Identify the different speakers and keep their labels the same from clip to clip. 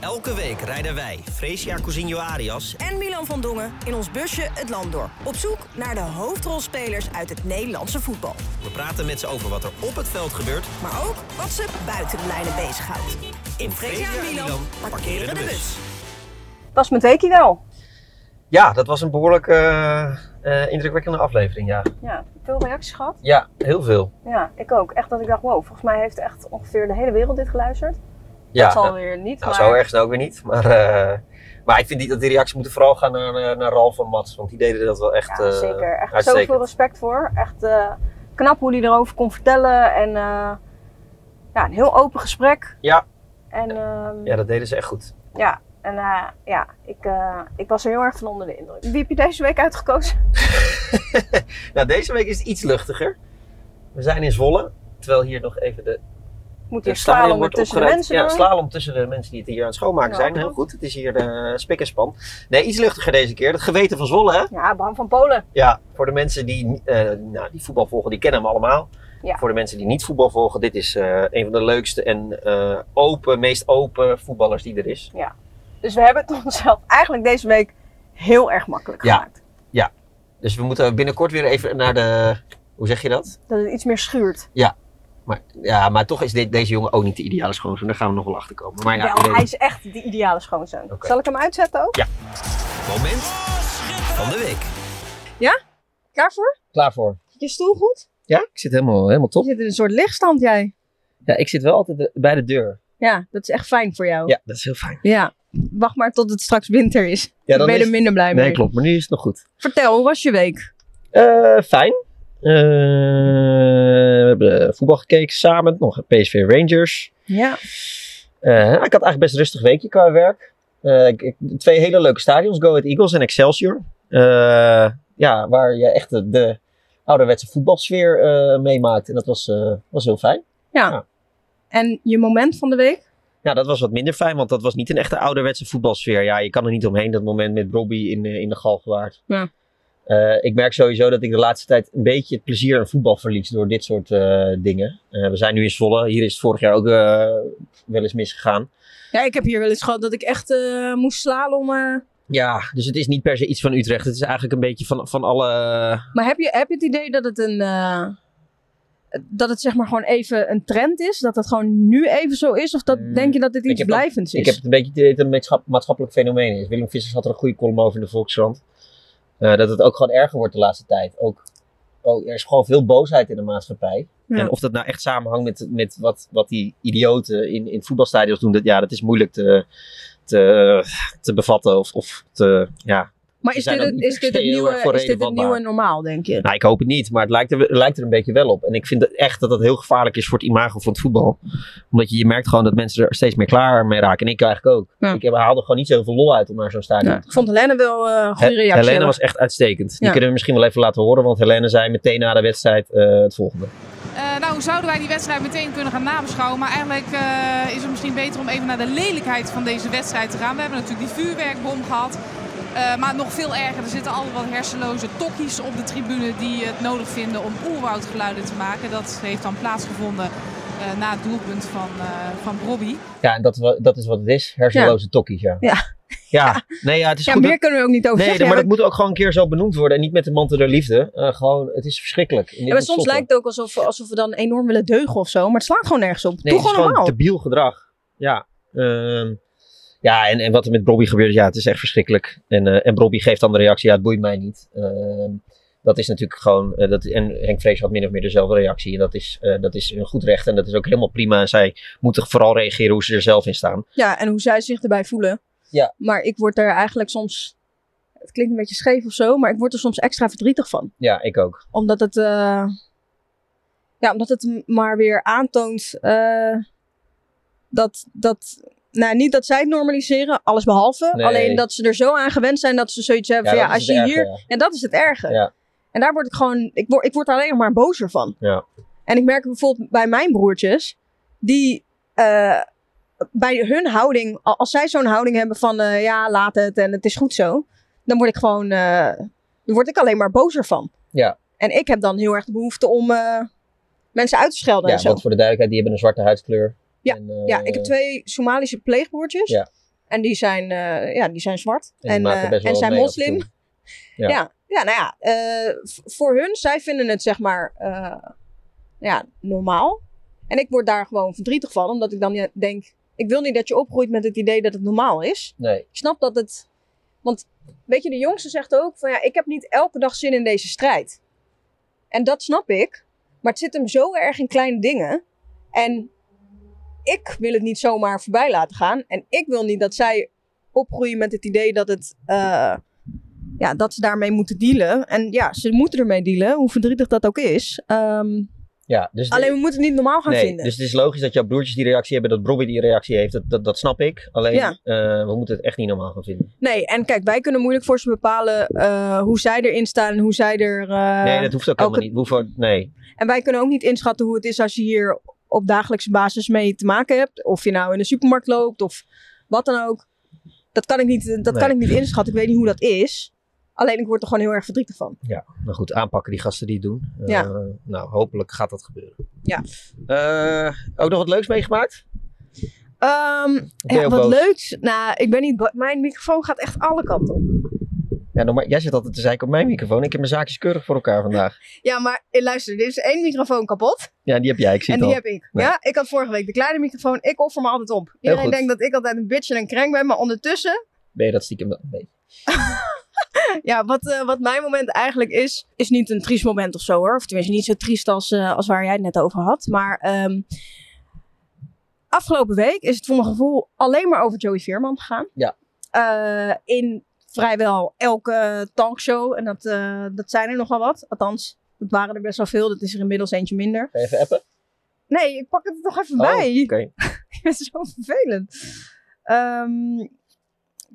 Speaker 1: Elke week rijden wij, Fresia Cousinho Arias...
Speaker 2: en Milan van Dongen in ons busje het land door. Op zoek naar de hoofdrolspelers uit het Nederlandse voetbal.
Speaker 1: We praten met ze over wat er op het veld gebeurt...
Speaker 2: Maar ook wat ze buiten de lijnen bezighoudt.
Speaker 1: in
Speaker 2: Fresia en Milan parkeren de bus.
Speaker 3: Was mijn weekje wel.
Speaker 4: Ja, dat was een behoorlijk eh, eh, indrukwekkende aflevering, ja.
Speaker 3: Ja, veel reacties gehad.
Speaker 4: Ja, heel veel.
Speaker 3: Ja, ik ook. Echt dat ik dacht, wow, volgens mij heeft echt ongeveer de hele wereld dit geluisterd.
Speaker 4: Ja,
Speaker 3: dat zal
Speaker 4: nou,
Speaker 3: weer niet,
Speaker 4: nou,
Speaker 3: maar...
Speaker 4: zo erg is het ook weer niet. Maar, eh, maar ik vind die, dat die reacties moeten vooral gaan naar, eh, naar Ralf en Mats. Want die deden dat wel echt
Speaker 3: Ja,
Speaker 4: eh,
Speaker 3: zeker. Echt
Speaker 4: uitstekend.
Speaker 3: zoveel respect voor. Echt eh, knap hoe hij erover kon vertellen. En eh, ja, een heel open gesprek.
Speaker 4: Ja.
Speaker 3: En, ehm,
Speaker 4: Ja, dat deden ze echt goed.
Speaker 3: ja. en eh, ja, ik, eh, ik was er heel erg van onder de indruk. Wie heb je deze week uitgekozen?
Speaker 4: Nou, deze week is het iets luchtiger. We zijn in Zwolle. Terwijl hier nog even de,
Speaker 3: Moet
Speaker 4: de
Speaker 3: je slaan om
Speaker 4: wordt
Speaker 3: tussen de
Speaker 4: opgeruimd.
Speaker 3: mensen
Speaker 4: Ja,
Speaker 3: door?
Speaker 4: slalom tussen de mensen die het hier aan het schoonmaken
Speaker 3: Ja,
Speaker 4: zijn.
Speaker 3: goed.
Speaker 4: Heel goed. Het is hier eh spik en span. Nee, iets luchtiger deze keer. Het geweten van Zwolle, hè?
Speaker 3: Ja, Bram van Polen.
Speaker 4: Ja, voor de mensen die, eh, nou, die voetbal volgen, die kennen hem allemaal.
Speaker 3: Ja.
Speaker 4: Voor de mensen die niet voetbal volgen, dit is eh, een van de leukste en eh, open, meest open voetballers die er is.
Speaker 3: Dus we hebben het onszelf eigenlijk deze week heel erg makkelijk
Speaker 4: Ja.
Speaker 3: gemaakt.
Speaker 4: Dus we moeten binnenkort weer even naar de, hoe zeg je dat?
Speaker 3: Dat het iets meer schuurt.
Speaker 4: Maar, ja, maar toch is dit, deze jongen ook niet de ideale schoonzoon. Daar gaan we nog wel achter komen. Maar ja,
Speaker 3: Wel,
Speaker 4: nee.
Speaker 3: hij is echt de ideale schoonzoon.
Speaker 4: Oké.
Speaker 3: Zal ik hem uitzetten ook?
Speaker 1: Moment van de week.
Speaker 3: Klaar voor?
Speaker 4: klaar voor.
Speaker 3: Zit je stoel goed?
Speaker 4: Ja, ik zit helemaal, helemaal top.
Speaker 3: zit in een soort lichtstand jij.
Speaker 4: Ja, ik zit wel altijd eh, bij de deur.
Speaker 3: Ja, dat is echt fijn voor jou.
Speaker 4: Oh. Ja, dat is heel fijn.
Speaker 3: Ja. Wacht maar tot het straks winter is.
Speaker 4: Ja,
Speaker 3: dan ben je
Speaker 4: is-
Speaker 3: er minder blij mee.
Speaker 4: Nee, klopt. Maar nu is het nog goed.
Speaker 3: Vertel, hoe was je week?
Speaker 4: Eh, fijn. Eh, we hebben eh, voetbal gekeken samen. Nog PSV Rangers.
Speaker 3: Ja.
Speaker 4: Eh, ik had eigenlijk best een rustig weekje qua werk. Eh, ik, ik- twee hele leuke stadions, Go Ahead Eagles en Excelsior. Eh, ja, waar je echt de, de ouderwetse voetbalsfeer eh, meemaakt. En dat was, eh, was heel fijn.
Speaker 3: En je moment van de week?
Speaker 4: Ja, Nou, dat was wat minder fijn, want dat was niet een echte ouderwetse voetbalsfeer. Ja, je kan er niet omheen dat moment met Robbie in, eh, in de galgenwaard.
Speaker 3: Ja.
Speaker 4: Eh, ik merk sowieso dat ik de laatste tijd een beetje het plezier aan voetbal verlies door dit soort eh, dingen. Eh, we zijn nu in Zwolle. Hier is het vorig jaar ook eh, wel eens misgegaan.
Speaker 3: Ja, ik heb hier wel eens gehad dat ik echt eh, moest slalommen.
Speaker 4: Ja, dus het is niet per se iets van Utrecht. Het is eigenlijk een beetje van, van alle...
Speaker 3: Maar heb je, heb je het idee dat het een. eh, dat het zeg maar gewoon even een trend is? Dat dat gewoon nu even zo is? Of dat,
Speaker 4: Mm,
Speaker 3: denk je dat dit
Speaker 4: ik
Speaker 3: iets
Speaker 4: heb dat-
Speaker 3: blijvends
Speaker 4: Ik
Speaker 3: is?
Speaker 4: heb het een beetje idee dat het een maatschap- maatschappelijk fenomeen is. Willem Vissers had er een goede column over in de Volkskrant. Eh, dat het ook gewoon erger wordt de laatste tijd. Ook, ook, er is gewoon veel boosheid in de maatschappij.
Speaker 3: Ja.
Speaker 4: En of dat nou echt samenhangt met, met wat, wat die idioten in, in voetbalstadions doen, dat, ja, dat is moeilijk te, te, te bevatten. Of, of te, ja.
Speaker 3: maar
Speaker 4: ze
Speaker 3: is
Speaker 4: zijn
Speaker 3: dit,
Speaker 4: ook
Speaker 3: het,
Speaker 4: niet
Speaker 3: is,
Speaker 4: per
Speaker 3: dit het,
Speaker 4: se heel erg voor
Speaker 3: nieuwe, is dit het
Speaker 4: relevantbaar.
Speaker 3: nieuwe normaal, denk je?
Speaker 4: Nou, ik hoop het niet, maar het lijkt er, lijkt er een beetje wel op. En ik vind dat echt dat dat heel gevaarlijk is voor het imago van het voetbal. Omdat je, je merkt gewoon dat mensen er steeds meer klaar mee raken. En ik eigenlijk ook.
Speaker 3: Ja.
Speaker 4: Ik heb, haal er gewoon niet zoveel lol uit om naar zo'n stadion
Speaker 3: Ja. Ik vond Helene wel eh, een goede
Speaker 4: He-
Speaker 3: reactie.
Speaker 4: Helene
Speaker 3: hebben.
Speaker 4: was echt uitstekend. Die
Speaker 3: Ja.
Speaker 4: kunnen we misschien wel even laten horen, want Helene zei meteen na de wedstrijd eh, het volgende.
Speaker 5: Eh, nou, hoe zouden wij die wedstrijd meteen kunnen gaan nabeschouwen? Maar eigenlijk eh, is het misschien beter om even naar de lelijkheid van deze wedstrijd te gaan. We hebben natuurlijk die vuurwerkbom gehad. Eh, maar nog veel erger, er zitten al wat hersenloze tokkies op de tribune die het nodig vinden om oerwoudgeluiden te maken. Dat heeft dan plaatsgevonden eh, na het doelpunt van, eh van Robbie.
Speaker 4: Ja, en dat, wa- dat is wat het is. Hersenloze tokkies, ja.
Speaker 3: Ja.
Speaker 4: Ja. nee, ja, het is
Speaker 3: Ja,
Speaker 4: goed.
Speaker 3: meer
Speaker 4: dat-
Speaker 3: kunnen we ook niet over
Speaker 4: nee,
Speaker 3: zeggen.
Speaker 4: maar
Speaker 3: Ja,
Speaker 4: dat moet ook gewoon een keer zo benoemd worden. En niet met de mantel der liefde. Eh, gewoon, het is verschrikkelijk. En dit
Speaker 3: ja, maar
Speaker 4: moet
Speaker 3: soms
Speaker 4: stoppen.
Speaker 3: lijkt het ook alsof, alsof we dan enorm willen deugen of zo. Maar het slaat gewoon nergens op.
Speaker 4: Nee,
Speaker 3: Doe
Speaker 4: het is
Speaker 3: gewoon normaal.
Speaker 4: gewoon debiel gedrag. Ja. Ehm, ja, en, en wat er met Bobby gebeurt, ja, het is echt verschrikkelijk. En, eh, en Bobby geeft dan de reactie, ja, het boeit mij niet. Ehm, dat is natuurlijk gewoon, eh, dat, en Henk Vrees had min of meer dezelfde reactie. En dat is, eh, dat is een goed recht en dat is ook helemaal prima. En zij moeten vooral reageren hoe ze er zelf in staan.
Speaker 3: Ja, en hoe zij zich erbij voelen.
Speaker 4: Ja.
Speaker 3: Maar ik word er eigenlijk soms... Het klinkt een beetje scheef of zo, maar ik word er soms extra verdrietig van.
Speaker 4: Ja, ik ook.
Speaker 3: Omdat het, eh, ja, omdat het m- maar weer aantoont eh, dat, dat nou, niet dat zij het normaliseren, alles behalve.
Speaker 4: Nee.
Speaker 3: Alleen dat ze er zo aan gewend zijn dat ze zoiets hebben van
Speaker 4: dat
Speaker 3: ja,
Speaker 4: is
Speaker 3: als je
Speaker 4: het erge,
Speaker 3: hier...
Speaker 4: ja.
Speaker 3: En dat is het erge.
Speaker 4: Ja.
Speaker 3: En daar word ik gewoon, ik word, ik word er alleen nog maar bozer van.
Speaker 4: Ja.
Speaker 3: En ik merk het bijvoorbeeld bij mijn broertjes, die eh, bij hun houding, a- als zij zo'n houding hebben van eh, ja, laat het en het is goed zo, dan word ik gewoon, eh, dan word ik alleen maar bozer van.
Speaker 4: Ja.
Speaker 3: En ik heb dan heel erg de behoefte om eh, mensen uit te schelden
Speaker 4: Ja,
Speaker 3: en zo.
Speaker 4: want voor de duidelijkheid, die hebben een zwarte huidskleur. En, eh,
Speaker 3: Ja, ik heb twee Somalische pleegbroertjes.
Speaker 4: Ja.
Speaker 3: En die zijn, eh, ja, die zijn zwart.
Speaker 4: En die maken
Speaker 3: eh,
Speaker 4: best wel
Speaker 3: en zijn
Speaker 4: mee af en
Speaker 3: moslim.
Speaker 4: toe.
Speaker 3: Ja.
Speaker 4: Ja.
Speaker 3: Ja, nou ja, eh, v- voor hun, zij vinden het zeg maar eh, ja, normaal. En ik word daar gewoon verdrietig van, omdat ik dan ja, denk, ik wil niet dat je opgroeit met het idee dat het normaal is
Speaker 4: Nee,
Speaker 3: ik snap dat het. Want weet je, de jongste zegt ook van ja, ik heb niet elke dag zin in deze strijd. En dat snap ik. Maar het zit hem zo erg in kleine dingen. En ik wil het niet zomaar voorbij laten gaan. En ik wil niet dat zij opgroeien met het idee dat het. eh, ja, dat ze daarmee moeten dealen. En ja, ze moeten ermee dealen, hoe verdrietig dat ook is. Ehm,
Speaker 4: ja. Dus
Speaker 3: alleen we moeten het niet normaal gaan
Speaker 4: nee,
Speaker 3: vinden.
Speaker 4: Dus het is logisch dat jouw broertjes die reactie hebben, dat Bobby die reactie heeft. Dat, dat, dat snap ik. Alleen,
Speaker 3: Ja. Eh,
Speaker 4: eh, we moeten het echt niet normaal gaan vinden.
Speaker 3: Nee, en kijk, wij kunnen moeilijk voor ze bepalen eh, hoe zij erin staan en hoe zij er. eh,
Speaker 4: nee, dat hoeft ook
Speaker 3: elke-
Speaker 4: helemaal niet. We hoeven- nee,
Speaker 3: En wij kunnen ook niet inschatten hoe het is als je hier op dagelijkse basis mee te maken hebt. Of je nou in de supermarkt loopt of wat dan ook. Dat kan ik niet, dat
Speaker 4: Nee.
Speaker 3: kan ik niet inschatten. Ik weet niet hoe dat is. Alleen ik word er gewoon heel erg verdrietig van.
Speaker 4: Nou goed, aanpakken die gasten die het doen. Eh,
Speaker 3: Ja.
Speaker 4: Nou, hopelijk gaat dat gebeuren.
Speaker 3: Ja.
Speaker 4: Eh, ook nog wat leuks meegemaakt?
Speaker 3: Ehm,
Speaker 4: ben je
Speaker 3: ja,
Speaker 4: ook
Speaker 3: wat
Speaker 4: boos?
Speaker 3: leuks. Nou, ik ben niet. bo- Mijn microfoon gaat echt alle kanten op.
Speaker 4: Ja, nou, maar jij zit altijd te zeiken op mijn microfoon. Ik heb mijn zaakjes keurig voor elkaar vandaag.
Speaker 3: Ja, maar eh, luister, er is één microfoon kapot.
Speaker 4: Ja, die heb jij, ik zie
Speaker 3: en
Speaker 4: het
Speaker 3: die
Speaker 4: al.
Speaker 3: heb ik.
Speaker 4: Nee.
Speaker 3: Ja, ik had vorige week de kleine microfoon. Ik offer me altijd op. Iedereen
Speaker 4: goed.
Speaker 3: denkt dat ik altijd een bitch en een krenk ben. Maar ondertussen
Speaker 4: Nee, dat stiekem wel een beetje.
Speaker 3: Ja, wat, eh, wat mijn moment eigenlijk is, is niet een triest moment of zo hoor. Of tenminste niet zo triest als, eh, als waar jij het net over had. Maar ehm, afgelopen week is het voor mijn gevoel alleen maar over Joey Veerman gegaan.
Speaker 4: Ja.
Speaker 3: Eh, in vrijwel elke talkshow. En dat, eh, dat zijn er nogal wat. Althans, dat waren er best wel veel. Dat is er inmiddels eentje minder.
Speaker 4: Ga je even appen?
Speaker 3: Nee, ik pak het er toch even
Speaker 4: Oh,
Speaker 3: bij.
Speaker 4: Oké,
Speaker 3: Ik ben zo vervelend. Ehm,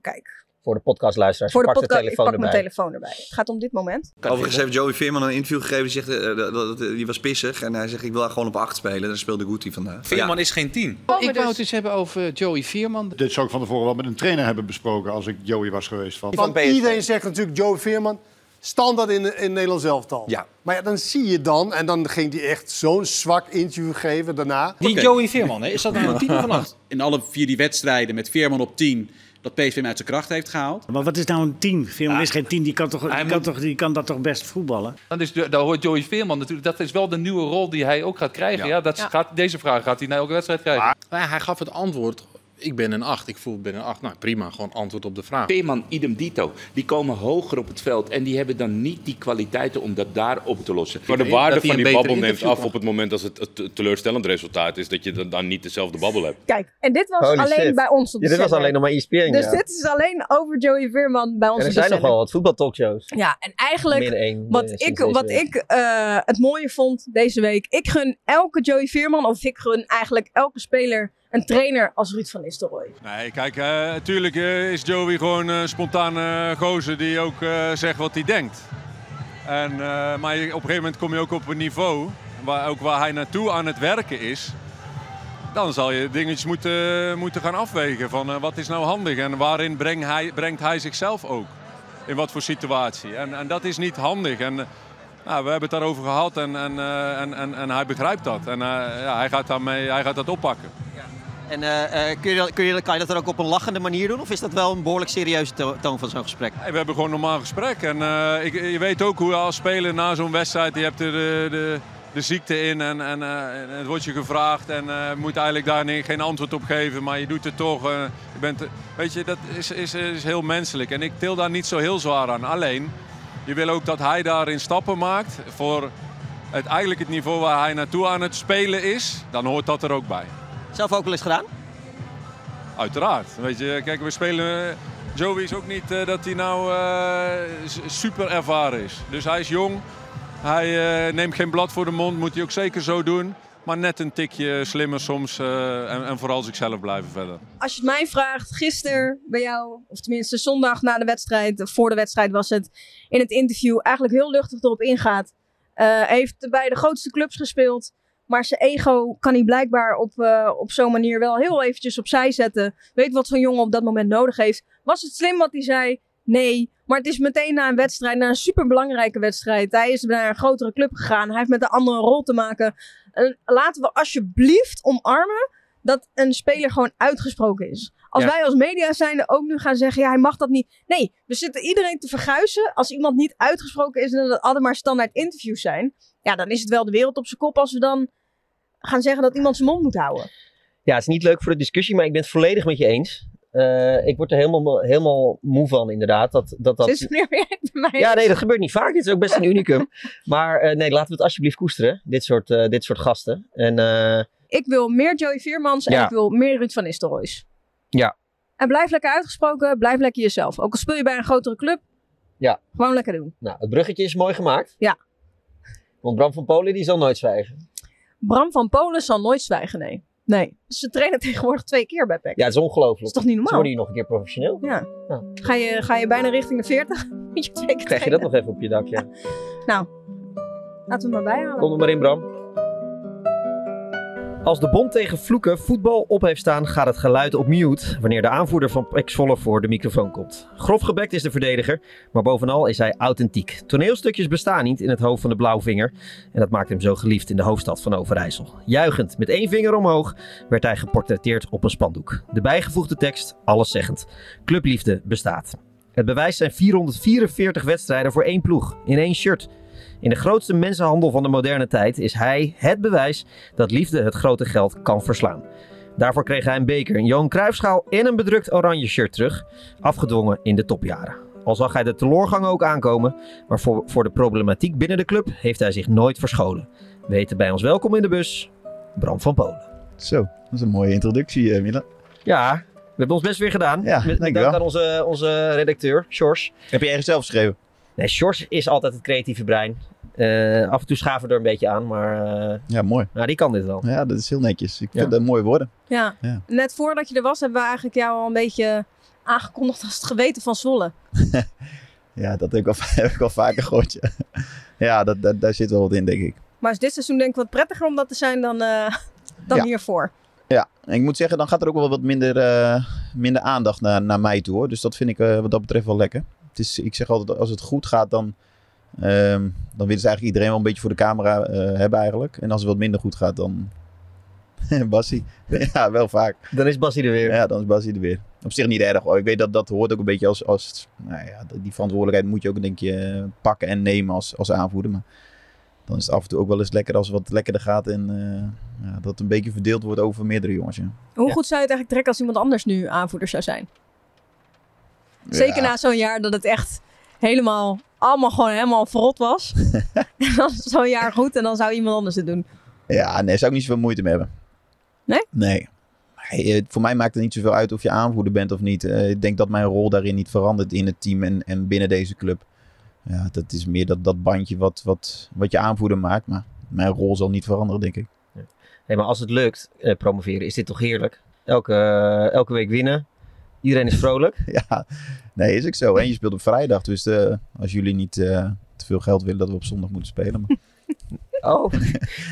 Speaker 3: kijk,
Speaker 4: voor de podcastluisteraars.
Speaker 3: voor de
Speaker 4: pak
Speaker 3: podcast,
Speaker 4: Dus de telefoon
Speaker 3: ik pak
Speaker 4: erbij.
Speaker 3: mijn telefoon erbij. Het gaat om dit moment.
Speaker 6: Overigens heeft Joey Veerman een interview gegeven. Die, zegt, eh, dat, dat- die was pissig. En hij zegt, ik wil gewoon op 8 spelen. Daar speelde Guti vandaag.
Speaker 7: Veerman is geen tien.
Speaker 8: Ik wou het eens hebben over Joey Veerman.
Speaker 9: Dit zou ik van tevoren wel met een trainer hebben besproken als ik Joey was geweest. Van.
Speaker 10: Want iedereen zegt natuurlijk Joe Veerman, standaard in, in Nederland elftal.
Speaker 6: Ja.
Speaker 10: Maar Nou ja, dan zie je dan, en dan ging hij echt zo'n zwak interview geven daarna.
Speaker 7: Die Joey Veerman, hè? is dat nou een tien of een acht? In alle vier die wedstrijden met Veerman op tien, dat PSV hem uit zijn kracht heeft gehaald.
Speaker 11: Maar wat is nou een team? Veerman is geen team, die kan, toch, die,
Speaker 7: Hij
Speaker 11: kan
Speaker 7: moet-
Speaker 11: toch, die kan dat toch best voetballen?
Speaker 8: Dan is, daar hoort Joey Veerman natuurlijk. Dat is wel de nieuwe rol die hij ook gaat krijgen. Ja. dat Gaat, deze vraag gaat hij na elke wedstrijd krijgen.
Speaker 12: Maar Nou hij gaf het antwoord. Ik ben een 8, ik voel ik ben een 8. Nou prima, gewoon antwoord op de vraag.
Speaker 7: Veerman, idem dito. Die komen hoger op het veld en die hebben dan niet die kwaliteiten om dat daar op te lossen.
Speaker 12: Maar de waarde van die babbel neemt af op het moment als het een teleurstellend resultaat is. Dat je dan, dan niet dezelfde babbel hebt.
Speaker 3: Kijk, en dit was
Speaker 4: Holy
Speaker 3: alleen
Speaker 4: shit.
Speaker 3: bij ons op de
Speaker 4: Ja, dit was
Speaker 3: zender.
Speaker 4: alleen nog maar E ESPN.
Speaker 3: Dus
Speaker 4: ja.
Speaker 3: dit is alleen over Joey Veerman bij ons
Speaker 4: En er
Speaker 3: op de
Speaker 4: zijn nog
Speaker 3: zender.
Speaker 4: wel wat voetbaltalkshows.
Speaker 3: Ja, en eigenlijk
Speaker 4: Min één.
Speaker 3: wat
Speaker 4: eh,
Speaker 3: ik,
Speaker 4: sinds
Speaker 3: wat
Speaker 4: deze-
Speaker 3: ik eh, het mooie vond deze week. Ik gun elke Joey Veerman, of ik gun eigenlijk elke speler een trainer als Ruud van Nistelrooy.
Speaker 7: Nee, kijk, natuurlijk is Joey gewoon een spontane gozer die ook eh, zegt wat hij denkt. En, eh, maar op een gegeven moment kom je ook op een niveau, waar, ook waar hij naartoe aan het werken is. Dan zal je dingetjes moeten, moeten gaan afwegen van eh, wat is nou handig en waarin breng hij, brengt hij zichzelf ook. In wat voor situatie. En, en dat is niet handig. En, eh, nou, we hebben het daarover gehad en, en, eh, en, en, en hij begrijpt dat. En eh, ja, hij, gaat daarmee, hij gaat dat oppakken.
Speaker 13: En eh, eh, kun je, dat- kun je, kan je dat dan ook op een lachende manier doen? Of is dat wel een behoorlijk serieuze to- toon van zo'n gesprek?
Speaker 7: Hey, We hebben gewoon een normaal gesprek. En eh, ik, je weet ook hoe je als speler na zo'n wedstrijd, je hebt er de, de, de ziekte in en, en eh, en het wordt je gevraagd. En eh, je moet eigenlijk daar niet- geen antwoord op geven, maar je doet het toch. eh, je bent, weet je, dat is, is, is heel menselijk. En ik til daar niet zo heel zwaar aan. Alleen, je wil ook dat hij daarin stappen maakt voor het, eigenlijk het niveau waar hij naartoe aan het spelen is. Dan hoort dat er ook bij.
Speaker 13: Zelf ook wel eens gedaan?
Speaker 7: Uiteraard. Weet je, kijk, we spelen. eh, Joey is ook niet eh, dat hij nou eh, s- super ervaren is. Dus hij is jong. Hij eh, neemt geen blad voor de mond. Moet hij ook zeker zo doen. Maar net een tikje slimmer soms. eh, en, en vooral zichzelf blijven verder.
Speaker 3: Als je het mij vraagt, gisteren bij jou, of tenminste zondag na de wedstrijd, of voor de wedstrijd was het, in het interview eigenlijk heel luchtig erop ingaat. Eh, heeft bij de grootste clubs gespeeld, maar zijn ego kan hij blijkbaar op, eh, op zo'n manier wel heel eventjes opzij zetten. Weet wat zo'n jongen op dat moment nodig heeft. Was het slim wat hij zei? Nee. Maar het is meteen na een wedstrijd, na een superbelangrijke wedstrijd. Hij is naar een grotere club gegaan. Hij heeft met een andere rol te maken. Eh, laten we alsjeblieft omarmen dat een speler gewoon uitgesproken is. Als
Speaker 8: Ja.
Speaker 3: wij als media zijn ook nu gaan zeggen, ja, hij mag dat niet. Nee, we zitten iedereen te verguizen. Als iemand niet uitgesproken is en dat het allemaal maar standaard interviews zijn. Ja, dan is het wel de wereld op zijn kop als we dan gaan zeggen dat iemand zijn mond moet houden.
Speaker 4: Ja, het is niet leuk voor de discussie, maar ik ben het volledig met je eens. Eh, ik word er helemaal, helemaal moe van, inderdaad. Dat, dat, dat...
Speaker 3: Sinds wanneer ben jij het bij mij?
Speaker 4: Ja, nee, dat gebeurt niet vaak. Dit is ook best een unicum. Maar eh, nee, laten we het alsjeblieft koesteren. Dit soort, eh, dit soort gasten. En eh,
Speaker 3: Ik wil meer Joey Veermans en
Speaker 4: Ja.
Speaker 3: ik wil meer Ruud van Nistelrooy.
Speaker 4: ja,
Speaker 3: En blijf lekker uitgesproken, blijf lekker jezelf. Ook al speel je bij een grotere club,
Speaker 4: ja.
Speaker 3: gewoon lekker doen.
Speaker 4: Nou, het bruggetje is mooi gemaakt.
Speaker 3: Ja.
Speaker 4: Want Bram van Polen, die zal nooit zwijgen.
Speaker 3: Bram van Polen zal nooit zwijgen, nee. Nee. Ze trainen tegenwoordig twee keer bij PEC.
Speaker 4: Ja, het is ongelooflijk.
Speaker 3: Is toch niet normaal?
Speaker 4: Ze worden hier nog een keer professioneel.
Speaker 3: Ja. Ga, je, ga je bijna richting de 40? Moet je twee keer
Speaker 4: Krijg je dat nog even op je dak, ja.
Speaker 3: trainen. Nou, laten we maar bijhalen.
Speaker 4: Kom er maar in, Bram. Als de bond tegen vloeken voetbal op heeft staan, gaat het geluid op mute wanneer de aanvoerder van Pex Zwolle voor de microfoon komt. Grof gebekt is de verdediger, maar bovenal is hij authentiek. Toneelstukjes bestaan niet in het hoofd van de blauwvinger en dat maakt hem zo geliefd in de hoofdstad van Overijssel. Juichend, met één vinger omhoog, werd hij geportretteerd op een spandoek. De bijgevoegde tekst, alleszeggend. Clubliefde bestaat. Het bewijs zijn 444 wedstrijden voor één ploeg, in één shirt. In de grootste mensenhandel van de moderne tijd is hij het bewijs dat liefde het grote geld kan verslaan. Daarvoor kreeg hij een beker, een Johan Cruijffschaal en een bedrukt oranje shirt terug, afgedwongen in de topjaren. Al zag hij de teleurgang ook aankomen, maar voor, voor de problematiek binnen de club heeft hij zich nooit verscholen. We heten bij ons welkom in de bus, Bram van Polen.
Speaker 10: Zo, dat is een mooie introductie, eh, Milan.
Speaker 4: Ja, we hebben ons best weer gedaan.
Speaker 10: Ja,
Speaker 4: met met dank
Speaker 10: dankjewel.
Speaker 4: aan onze, onze redacteur, Sjors.
Speaker 10: Heb je ergens zelf geschreven?
Speaker 4: Nee, Sjors is altijd het creatieve brein. Eh, af en toe schaven we er een beetje aan, maar eh,
Speaker 10: Ja, mooi.
Speaker 4: nou, die kan dit wel.
Speaker 10: Ja, dat is heel netjes. Ik vind dat mooie woorden.
Speaker 3: Ja.
Speaker 10: Ja.
Speaker 3: Net voordat je er was, hebben we eigenlijk jou al een beetje aangekondigd als het geweten van Zwolle.
Speaker 10: Ja, dat heb ik al, heb ik al vaker gehoord. Ja, ja dat, dat- daar zit wel wat in, denk ik.
Speaker 3: Maar is dit seizoen denk ik wat prettiger om dat te zijn dan, eh, dan
Speaker 10: Ja.
Speaker 3: hiervoor.
Speaker 10: Ja, en ik moet zeggen, dan gaat er ook wel wat minder, eh, minder aandacht naar, naar mij toe. Hoor. Dus dat vind ik eh, wat dat betreft wel lekker. Het is, ik zeg altijd, als het goed gaat, dan, ehm, dan willen ze eigenlijk iedereen wel een beetje voor de camera eh, hebben eigenlijk. En als het wat minder goed gaat, dan... Bassie. ja, wel vaak.
Speaker 4: Dan is Bassie er weer.
Speaker 10: Ja, dan is Bassie er weer. Op zich niet erg hoor. Ik weet dat dat hoort ook een beetje als... als nou ja, die verantwoordelijkheid moet je ook denk je pakken en nemen als, als aanvoerder. Maar dan is het af en toe ook wel eens lekker als het wat lekkerder gaat. En eh, ja, dat het een beetje verdeeld wordt over meerdere jongens. Ja.
Speaker 3: Hoe goed zou je het eigenlijk trekken als iemand anders nu aanvoerder zou zijn? Zeker na zo'n jaar dat het echt helemaal, allemaal gewoon helemaal verrot was. en dan is zo'n jaar goed en dan zou iemand anders het doen.
Speaker 10: Ja, nee, zou ik niet zoveel moeite mee hebben.
Speaker 3: Nee?
Speaker 10: Nee. Hey, eh, voor mij maakt het niet zoveel uit of je aanvoerder bent of niet. Eh, ik denk dat mijn rol daarin niet verandert in het team en, en binnen deze club. Ja, dat is meer dat, dat bandje wat, wat, wat je aanvoerder maakt. Maar mijn rol zal niet veranderen, denk ik.
Speaker 4: Hey, maar als het lukt, eh, promoveren, is dit toch heerlijk? Elke, eh, elke week winnen. Iedereen is vrolijk.
Speaker 10: ja, nee, is ook zo. En je speelt op vrijdag. Dus eh, als jullie niet eh, te veel geld willen dat we op zondag moeten spelen. Maar...
Speaker 4: Oh,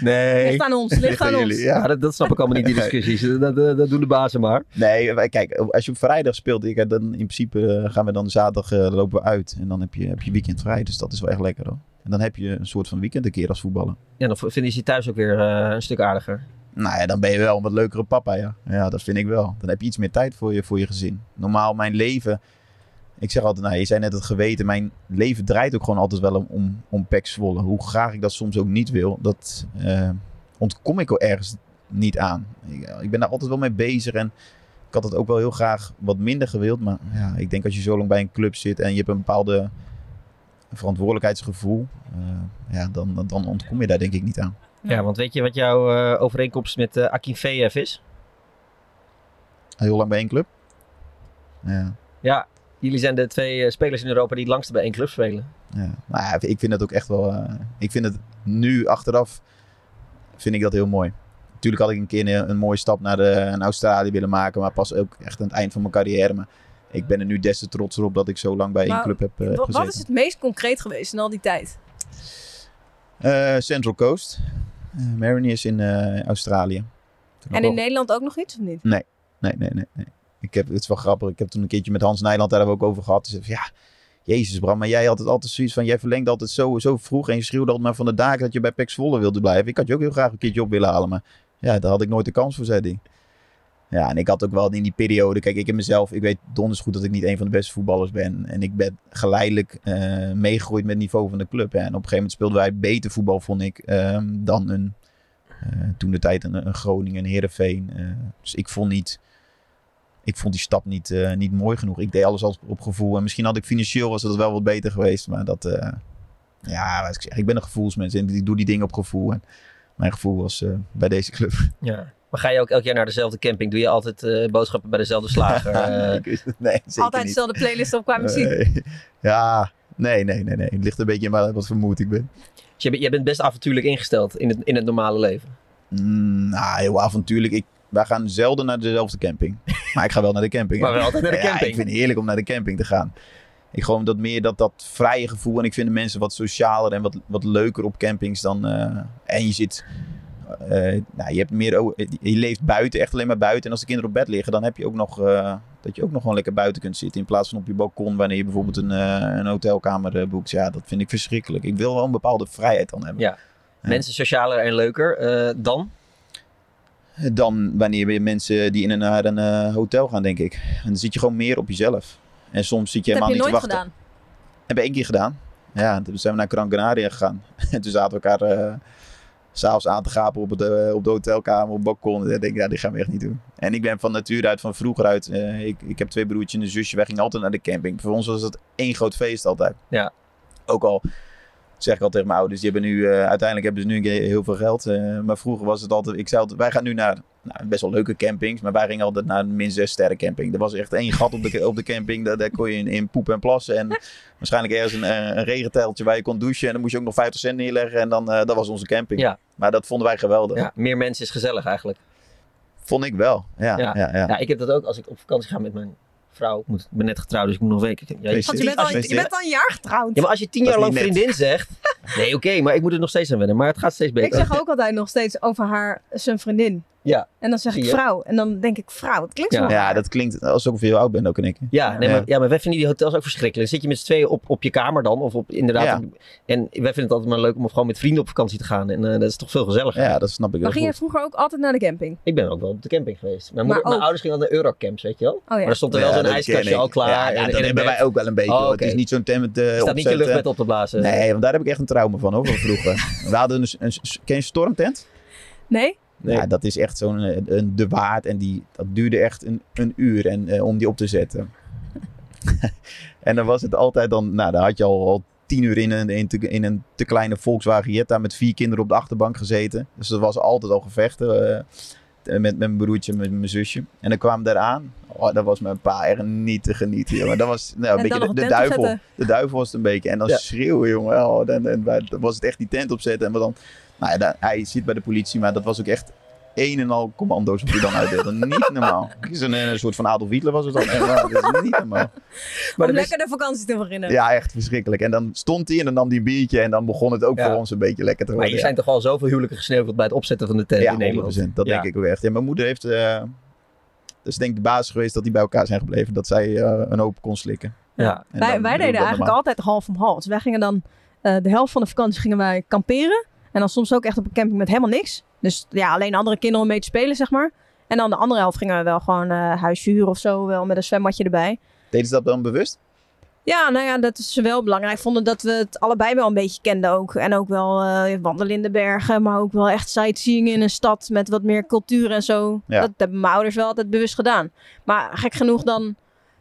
Speaker 4: nee.
Speaker 10: Ligt aan ons, ligt aan ons.
Speaker 4: jullie, Ja, dat, dat snap ik allemaal niet, die discussies. Dat, dat, dat doen de bazen maar.
Speaker 10: Nee, eh, wij- kijk, als je op vrijdag speelt, ik, dan in principe eh, gaan we dan zaterdag eh, lopen we uit. En dan heb je, heb je weekend vrij. Dus dat is wel echt lekker hoor. En dan heb je een soort van weekend een keer als voetballer.
Speaker 4: Ja, dan v- vinden ze je thuis ook weer eh, een stuk aardiger.
Speaker 10: Nou ja, dan ben je wel een wat leukere papa, ja. Ja, dat vind ik wel. Dan heb je iets meer tijd voor je, voor je gezin. Normaal, mijn leven... Ik zeg altijd, nou, je zei net het geweten. Mijn leven draait ook gewoon altijd wel om, om, om Pek Zwolle. Hoe graag ik dat soms ook niet wil, dat eh, ontkom ik wel ergens niet aan. Ik, eh, ik ben daar altijd wel mee bezig en ik had het ook wel heel graag wat minder gewild. Maar ja, ik denk als je zo lang bij een club zit en je hebt een bepaalde verantwoordelijkheidsgevoel... eh, ja, dan, dan- dan ontkom je daar denk ik niet aan.
Speaker 4: Ja, want weet je wat jouw eh, overeenkomst met eh Akin VF is?
Speaker 10: Heel lang bij één club. Ja.
Speaker 4: Ja, jullie zijn de twee eh, spelers in Europa die het langste bij één club spelen.
Speaker 10: Ja. Nou ja, ik vind dat ook echt wel. eh, ik vind het nu achteraf. Vind ik dat heel mooi. Natuurlijk had ik een keer een, een mooie stap naar, de, naar Australië willen maken. Maar pas ook echt aan het eind van mijn carrière. Maar ik ben er nu des te trotser op dat ik zo lang bij één
Speaker 3: Maar
Speaker 10: club heb eh,
Speaker 3: wa-
Speaker 10: gezeten.
Speaker 3: wat is het meest concreet geweest in al die tijd?
Speaker 10: Eh, Central Coast. Eh, Mariners in eh, Australië.
Speaker 3: En
Speaker 10: Toen nog
Speaker 3: in
Speaker 10: wel-
Speaker 3: Nederland ook nog iets of niet?
Speaker 10: Nee, nee, nee, nee. nee. Ik heb, het is wel grappig. Ik heb toen een keertje met Hans Nijland daar hebben we ook over gehad. Dus ik zei, ja, jezus Bram, maar jij had het altijd zoiets van... Jij verlengt altijd zo, zo vroeg en je schreeuwde altijd maar van de daken dat je bij Pek Zwolle wilde blijven. Ik had je ook heel graag een keertje op willen halen, maar ja, daar had ik nooit de kans voor, zei hij. Ja, en ik had ook wel in die periode, kijk, ik in mezelf, ik weet donders goed dat ik niet een van de beste voetballers ben. En ik ben geleidelijk eh, meegegroeid met het niveau van de club. Hè. En op een gegeven moment speelden wij beter voetbal, vond ik, ehm, dan een, eh, toen de tijd een, een Groningen, een Heerenveen. eh. dus ik vond niet, ik vond die stap niet, eh, niet mooi genoeg. Ik deed alles als op gevoel. En misschien had ik financieel was dat wel wat beter geweest, maar dat, eh, ja, wat ik zeg, ik ben een gevoelsmens en ik doe die dingen op gevoel. En mijn gevoel was eh, bij deze club.
Speaker 4: Ja. Maar ga je ook elk jaar naar dezelfde camping? Doe je altijd eh, boodschappen bij dezelfde slager? eh?
Speaker 10: nee, ik wist het- nee, zeker
Speaker 3: Altijd
Speaker 10: niet. Eh,
Speaker 3: dezelfde playlist op qua muziek.
Speaker 10: Nee. ja, nee, nee, nee, nee. Het ligt een beetje aan waar- wat voor moed ik ben.
Speaker 4: Dus je, bent- je bent best avontuurlijk ingesteld in het, in het normale leven.
Speaker 10: Mm, nou, heel avontuurlijk. Ik, wij gaan zelden naar dezelfde camping. Maar ik ga wel naar de camping.
Speaker 4: Maar wel altijd naar de
Speaker 10: Ja,
Speaker 4: camping.
Speaker 10: ik vind het heerlijk om naar de camping te gaan. Ik gewoon dat meer dat, dat vrije gevoel. En ik vind de mensen wat socialer en wat, wat leuker op campings dan. eh, en je zit. eh, nou, je, hebt meer, o- je leeft buiten, echt alleen maar buiten. En als de kinderen op bed liggen, dan heb je ook nog. eh, dat je ook nog gewoon lekker buiten kunt zitten. In plaats van op je balkon, wanneer je bijvoorbeeld een, eh, een hotelkamer eh, boekt. Ja, dat vind ik verschrikkelijk. Ik wil wel een bepaalde vrijheid dan hebben.
Speaker 4: Ja. Mensen socialer en leuker eh, dan?
Speaker 10: dan wanneer weer mensen die in en naar een eh, hotel gaan, denk ik. En dan zit je gewoon meer op jezelf. En soms zit je
Speaker 3: dat heb
Speaker 10: helemaal
Speaker 3: je
Speaker 10: niet te
Speaker 3: nooit
Speaker 10: wachten.
Speaker 3: gedaan.
Speaker 10: Heb ik één keer gedaan. Ja, toen zijn we naar Gran Canaria gegaan. En toen zaten we elkaar eh, s s'avonds aan te gapen op, het, eh, op de hotelkamer, op het balkon. En ik denk, ja, dit gaan we echt niet doen. En ik ben van natuur uit, van vroeger uit. eh, ik, ik heb twee broertjes en een zusje. Wij gingen altijd naar de camping. Voor ons was dat één groot feest altijd.
Speaker 4: Ja.
Speaker 10: Ook al zeg ik al tegen mijn ouders, die hebben nu, eh, uiteindelijk hebben ze nu een keer heel veel geld. eh, maar vroeger was het altijd, ik zei altijd, wij gaan nu naar nou, best wel leuke campings, maar wij gingen altijd naar een min zes sterren camping. Er was echt één gat op de, op de camping, daar, daar kon je in, in poep en plassen. En waarschijnlijk ergens een, eh, een regenteltje waar je kon douchen en dan moest je ook nog 50 cent neerleggen en dan, eh, dat was onze camping.
Speaker 4: Ja.
Speaker 10: Maar dat vonden wij geweldig.
Speaker 4: Ja, meer mensen is gezellig eigenlijk.
Speaker 10: Vond ik wel, ja. ja. ja,
Speaker 4: Ja, ik heb dat ook als ik op vakantie ga met mijn vrouw. Ik moet- ik ben net getrouwd, dus ik moet nog een week. Ja, je-
Speaker 10: Want je bent
Speaker 4: als
Speaker 10: al- je bent
Speaker 3: al een jaar getrouwd.
Speaker 4: Ja, maar als je tien
Speaker 10: Dat
Speaker 4: jaar
Speaker 10: is
Speaker 4: lang
Speaker 10: niet net.
Speaker 4: vriendin zegt... Nee, oké, maar ik moet er nog steeds aan wennen. Maar het gaat steeds beter.
Speaker 3: Ik zeg ook altijd nog steeds over haar, eh, zijn vriendin.
Speaker 4: Ja.
Speaker 3: En dan zeg
Speaker 4: Zie
Speaker 3: ik
Speaker 4: je?
Speaker 3: vrouw. En dan denk ik vrouw. Het klinkt zo
Speaker 10: Ja,
Speaker 3: raar.
Speaker 10: dat klinkt alsof ik heel oud ben ook en ik.
Speaker 4: Ja, nee,
Speaker 10: Ja.
Speaker 4: Maar, ja, maar wij vinden die hotels ook verschrikkelijk. Dan zit je met z'n tweeën op, op je kamer dan. Of op, inderdaad.
Speaker 10: Ja.
Speaker 4: op- en wij vinden het altijd maar leuk om gewoon met vrienden op vakantie te gaan. En eh, dat is toch veel gezelliger.
Speaker 10: Ja, dat snap ik
Speaker 3: Maar ging je vroeger ook altijd naar de camping?
Speaker 4: Ik ben ook wel op de camping geweest. Mijn,
Speaker 3: Maar
Speaker 4: moeder, mijn
Speaker 3: ook-
Speaker 4: ouders gingen al naar Eurocamps, weet je wel?
Speaker 3: Oh
Speaker 4: Maar daar stond er wel
Speaker 10: Ja,
Speaker 4: zo'n
Speaker 10: dat ken
Speaker 4: ijskastje
Speaker 10: ik.
Speaker 4: al klaar.
Speaker 10: Ja, ja,
Speaker 4: en-
Speaker 10: dat
Speaker 4: en
Speaker 10: hebben
Speaker 4: bed.
Speaker 10: wij ook wel een beetje.
Speaker 4: Oh,
Speaker 10: hoor.
Speaker 4: oké.
Speaker 10: Het is niet zo'n temmet
Speaker 4: Je
Speaker 10: eh
Speaker 4: staat niet je
Speaker 10: opzetten.
Speaker 4: luchtbed op te blazen.
Speaker 10: Nee, want daar heb ik echt een trauma van hoor, van vroeger. We hadden een, een, ken je stormtent?
Speaker 3: Nee?
Speaker 10: Ja, dat is echt zo'n eh, een, de waard en die, dat duurde echt een, een uur en, eh, om die op te zetten. en dan was het altijd dan, nou dan had je al, al tien uur in een, in, te, in een te kleine Volkswagen Jetta met vier kinderen op de achterbank gezeten. Dus dat was altijd al gevechten eh, t- met, met mijn broertje en met mijn zusje. En dan kwam daar aan, oh, dat was mijn pa echt niet te genieten jongen. Dat was nou,
Speaker 3: En
Speaker 10: een
Speaker 3: dan
Speaker 10: beetje
Speaker 3: nog
Speaker 10: de, de
Speaker 3: een tent
Speaker 10: duivel.
Speaker 3: opzetten.
Speaker 10: De duivel was het een beetje. En dan
Speaker 4: Ja.
Speaker 10: schreeuwen, jongen. Oh, dan, dan, dan was het echt die tent opzetten. En we dan, nou ja, dan- hij zit bij de politie, maar dat was ook echt een en al commando's wat hij dan uitdeelde. niet normaal. Het is Een, een soort van Adolf Hitler was het dan. Echt waar, dat is niet normaal.
Speaker 3: Om lekker de vakantie te beginnen.
Speaker 10: Ja, echt verschrikkelijk. En dan stond hij en dan nam hij een biertje en dan begon het ook
Speaker 4: Ja.
Speaker 10: voor ons een beetje lekker te
Speaker 4: Maar
Speaker 10: worden.
Speaker 4: hier zijn toch al zoveel huwelijken gesneuveld bij het opzetten van de tent
Speaker 10: ja,
Speaker 4: in Nederland.
Speaker 10: 100%, Dat denk ik ook echt. Ja, mijn moeder heeft, eh dat is denk ik de basis geweest dat die bij elkaar zijn gebleven. Dat zij eh, een hoop kon slikken.
Speaker 4: Ja.
Speaker 3: wij
Speaker 10: En
Speaker 3: wij
Speaker 10: dan doe ik
Speaker 3: deden
Speaker 10: dat
Speaker 3: eigenlijk
Speaker 10: normaal.
Speaker 3: altijd half om half. Dus wij gingen dan eh, de helft van de vakantie gingen wij kamperen. En dan soms ook echt op een camping met helemaal niks. Dus ja, alleen andere kinderen om mee te spelen, zeg maar. En dan de andere helft gingen we wel gewoon eh huisje huren of zo. Wel met een zwembadje erbij.
Speaker 10: Deden ze dat dan bewust?
Speaker 3: Ja, nou ja, dat is wel belangrijk. Vonden dat we het allebei wel een beetje kenden ook. En ook wel eh, wandelen in de bergen, maar ook wel echt sightseeing in een stad met wat meer cultuur en zo.
Speaker 6: Ja.
Speaker 3: Dat hebben mijn ouders wel altijd bewust gedaan. Maar gek genoeg dan,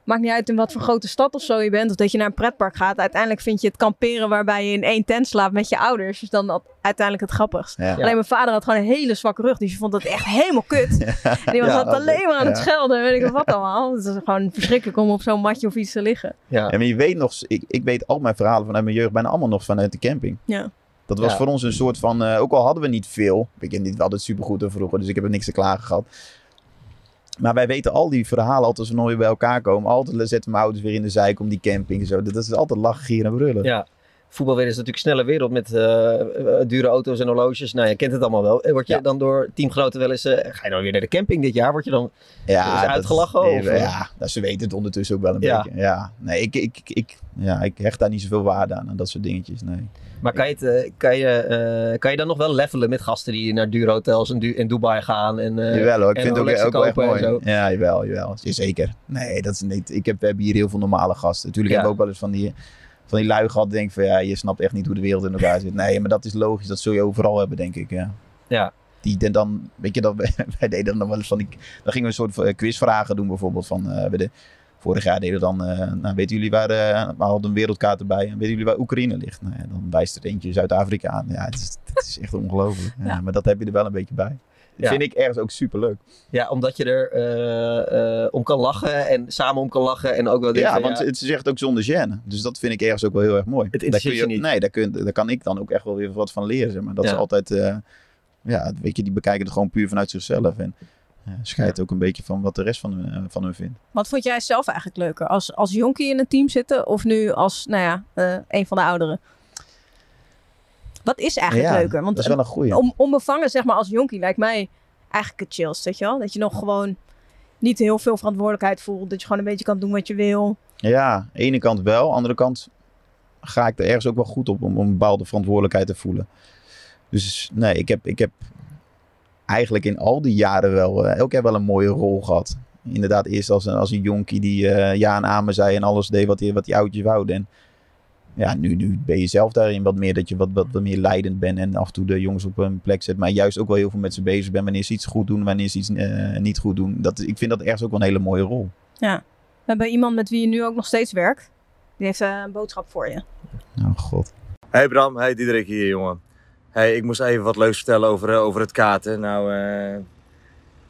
Speaker 3: maakt niet uit in wat voor grote stad of zo je bent, of dat je naar een pretpark gaat. Uiteindelijk vind je het kamperen waarbij je in één tent slaapt met je ouders, is dan dat uiteindelijk het grappigst.
Speaker 6: Ja.
Speaker 3: Alleen mijn vader had gewoon een hele zwakke rug, dus je vond dat echt helemaal kut. En die was
Speaker 10: Ja,
Speaker 3: altijd alleen maar aan het
Speaker 10: ja.
Speaker 3: schelden, weet ik wel wat allemaal. Het is gewoon verschrikkelijk om op zo'n matje of iets te liggen.
Speaker 4: Ja.
Speaker 10: En je weet nog, ik, ik weet al mijn verhalen vanuit mijn jeugd bijna allemaal nog vanuit de camping.
Speaker 3: Ja.
Speaker 10: Dat was
Speaker 3: Ja.
Speaker 10: voor ons een soort van, eh, ook al hadden we niet veel. Ik ken dit altijd supergoed en vroeger, dus ik heb er niks te klagen gehad. Maar wij weten al die verhalen altijd als we nog weer bij elkaar komen. Altijd zetten mijn ouders weer in de zeik om die camping en zo. Dat is altijd lachen, gieren en brullen.
Speaker 4: Ja. voetbalwereld is natuurlijk een snelle wereld met eh, eh, dure auto's en horloges. Nou, je kent het allemaal wel. En Word je dan door teamgenoten wel eens, eh, ga je dan weer naar de camping dit jaar? Word je dan ja,
Speaker 10: dat-
Speaker 4: uitgelachen?
Speaker 10: nee,
Speaker 4: of,
Speaker 10: we-
Speaker 4: eh?
Speaker 10: ja, nou, ze weten het ondertussen ook wel een
Speaker 4: Ja.
Speaker 10: beetje. Ja, nee, ik, ik, ik, ik- ja, ik hecht daar niet zoveel waarde aan, aan dat soort dingetjes. Nee.
Speaker 4: Maar kan je, het, eh, kan, je, eh, kan je dan nog wel levelen met gasten die naar dure hotels in, Du- in Dubai gaan? En, eh,
Speaker 10: jawel hoor, ik
Speaker 4: en
Speaker 10: vind het ook,
Speaker 4: Rolexen
Speaker 10: ook wel echt
Speaker 4: kopen en
Speaker 10: mooi.
Speaker 4: zo?
Speaker 10: Ja, jawel, jawel. Zeker. Nee, dat is niet... Ik heb, we hebben hier heel veel normale gasten. Natuurlijk
Speaker 4: Ja.
Speaker 10: hebben we ook wel eens van die, van die lui gehad. die denken van, ja, je snapt echt niet hoe de wereld in elkaar zit. Nee, maar dat is logisch. Dat zul je overal hebben, denk ik, ja.
Speaker 4: Ja.
Speaker 10: Die den- dan, weet je, dat, wij deden dan nog wel eens van die... Dan gingen we een soort eh, quizvragen doen bijvoorbeeld. Van, eh, we de, vorig jaar deden we dan, eh, nou, weten jullie waar... eh we hadden een wereldkaart erbij. En weten jullie waar Oekraïne ligt? Nou, ja, dan wijst er eentje Zuid-Afrika aan. Ja, het is, het is echt ongelooflijk. Ja, Maar dat heb je er wel een beetje bij. Dat
Speaker 4: Ja.
Speaker 10: vind ik ergens ook superleuk.
Speaker 4: Ja, omdat je er eh, eh, om kan lachen en samen om kan lachen en ook wel denkt
Speaker 10: Ja,
Speaker 4: van,
Speaker 10: want het is echt ook zonder gêne. Dus dat vind ik ergens ook wel heel erg mooi. Het
Speaker 4: interesseert
Speaker 10: kun
Speaker 4: je niet.
Speaker 10: Nee, daar, kun, daar kan ik dan ook echt wel weer wat van leren. Zeg maar dat
Speaker 4: Ja.
Speaker 10: is altijd... eh, ja, weet je, die bekijken het gewoon puur vanuit zichzelf. En ja, scheidt ook een beetje van wat de rest van hun, eh, van hun vindt.
Speaker 3: Wat vond jij zelf eigenlijk leuker? Als, als jonkie in een team zitten of nu als, nou ja, eh, een van de ouderen? Wat is eigenlijk
Speaker 10: Ja,
Speaker 3: leuker? Want
Speaker 10: dat is wel een goeie.
Speaker 3: Om, onbevangen, zeg maar, als jonkie lijkt mij eigenlijk het chillst, weet je wel? Dat je nog gewoon niet heel veel verantwoordelijkheid voelt. Dat je gewoon een beetje kan doen wat je wil.
Speaker 10: Ja, aan de ene kant wel. Aan de andere kant ga ik er ergens ook wel goed op om, om een bepaalde verantwoordelijkheid te voelen. Dus nee, ik heb, ik heb eigenlijk in al die jaren wel eh, elk jaar wel een mooie rol gehad. Inderdaad, eerst als een, als een jonkie die eh, ja en amen zei en alles deed wat die, wat die oudjes wouden. En ja, nu, nu ben je zelf daarin wat meer dat je wat, wat, wat meer leidend bent en af en toe de jongens op hun plek zet. Maar juist ook wel heel veel met ze bezig bent wanneer ze iets goed doen, wanneer ze iets eh, niet goed doen. Dat, ik vind dat ergens ook wel een hele mooie rol.
Speaker 3: Ja. We hebben iemand met wie je nu ook nog steeds werkt. Die heeft eh, een boodschap voor je.
Speaker 10: Oh god.
Speaker 6: Hey Bram, hey Diederik hier jongen. Hey, ik moest even wat leuks vertellen over, eh, over het kaarten. Nou, eh,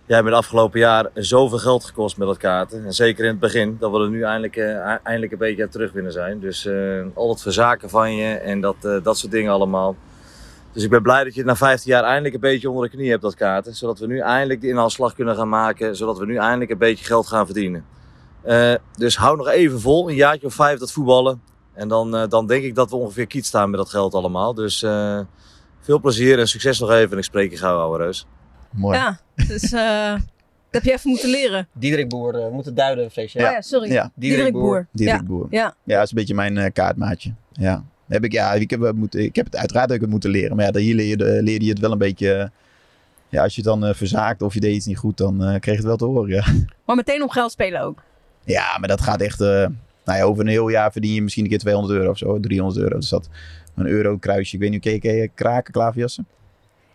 Speaker 6: jij bent afgelopen jaar zoveel geld gekost met dat kaarten. En zeker in het begin, dat we er nu eindelijk, eh, e- eindelijk een beetje aan terug willen zijn. Dus eh, al dat verzaken van je en dat, eh, dat soort dingen allemaal. Dus ik ben blij dat je het na 15 jaar eindelijk een beetje onder de knie hebt, dat kaarten. Zodat we nu eindelijk de inhaalslag kunnen gaan maken. Zodat we nu eindelijk een beetje geld gaan verdienen. Eh, dus hou nog even vol, een jaartje of vijf dat voetballen. En dan, eh, dan denk ik dat we ongeveer kiet staan met dat geld allemaal. Dus eh, veel plezier en succes nog even. En ik spreek je gauw, ouwe reus.
Speaker 10: Mooi.
Speaker 3: Ja, dus eh, dat heb je even moeten leren.
Speaker 4: Diederik Boer, eh, moet het duiden, vrees je.
Speaker 3: Ja. Oh ja, sorry. Diederik Boer.
Speaker 10: Diederik
Speaker 3: Ja.
Speaker 10: Boer.
Speaker 3: Ja.
Speaker 10: Ja. dat is een beetje mijn eh, kaartmaatje. Ja. Heb ik, ja, ik, heb, het moeten, ik heb het uiteraard heb ik het moeten leren. Maar ja, dat hier leerde, leerde je het wel een beetje. eh, Ja, als je het dan eh, verzaakt of je deed iets niet goed, dan eh, kreeg je het wel te horen. Ja,
Speaker 3: Maar meteen om geld spelen ook.
Speaker 10: ja maar dat gaat echt. eh, nou ja, over een heel jaar verdien je misschien een keer 200 euro of zo, 300 euro. Dus dat een euro kruisje. Ik weet niet, ken je, ken je kraken, klaverjassen?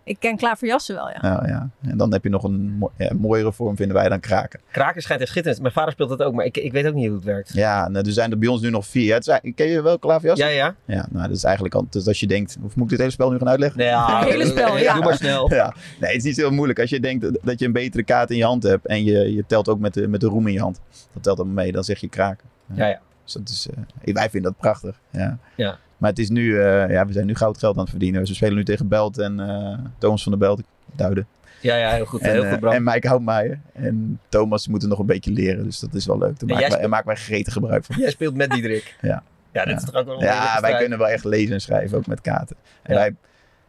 Speaker 3: Ik ken Klaverjassen wel, ja.
Speaker 10: Ja, ja. En dan heb je nog een mo- ja, mooiere vorm, vinden wij, dan kraken.
Speaker 4: Kraken schijnt echt schitterend. Mijn vader speelt dat ook, maar ik, ik weet ook niet hoe het werkt.
Speaker 10: Ja, nou, er zijn er bij ons nu nog vier. Ja, Het zijn, ken je wel klaverjassen?
Speaker 4: Ja, ja.
Speaker 10: Ja, nou, dat is eigenlijk al. Dus als je denkt, of moet ik dit hele spel nu gaan uitleggen?
Speaker 4: Ja, Het hele spel, ja. doe maar snel.
Speaker 10: Ja. Nee, het is niet zo heel moeilijk. Als je denkt dat- dat je een betere kaart in je hand hebt en je, je telt ook met de, met de roem in je hand, dat telt dan mee, dan zeg je kraken.
Speaker 4: Ja, ja.
Speaker 10: Dus dat is, eh, wij vinden dat prachtig. Ja.
Speaker 4: Ja.
Speaker 10: Maar het is nu, eh, ja, we zijn nu goud geld aan het verdienen. Dus we spelen nu tegen Belt en eh Thomas van der Belt, duiden.
Speaker 4: Ja, ja, heel goed.
Speaker 10: En,
Speaker 4: heel
Speaker 10: eh,
Speaker 4: goed, Bram.
Speaker 10: en Mike Houtmeijer en Thomas moeten nog een beetje leren, dus dat is wel leuk.
Speaker 4: jij
Speaker 10: Daar maken wij,
Speaker 4: speelt-
Speaker 10: maken wij gretig gebruik van.
Speaker 4: Jij speelt met Diederik.
Speaker 10: Ja.
Speaker 4: Ja, dit is toch ook wel een
Speaker 10: Ja,
Speaker 4: redelijke
Speaker 10: wij
Speaker 4: strijd.
Speaker 10: kunnen wel echt lezen en schrijven, ook met kaarten. En
Speaker 4: Ja.
Speaker 10: wij,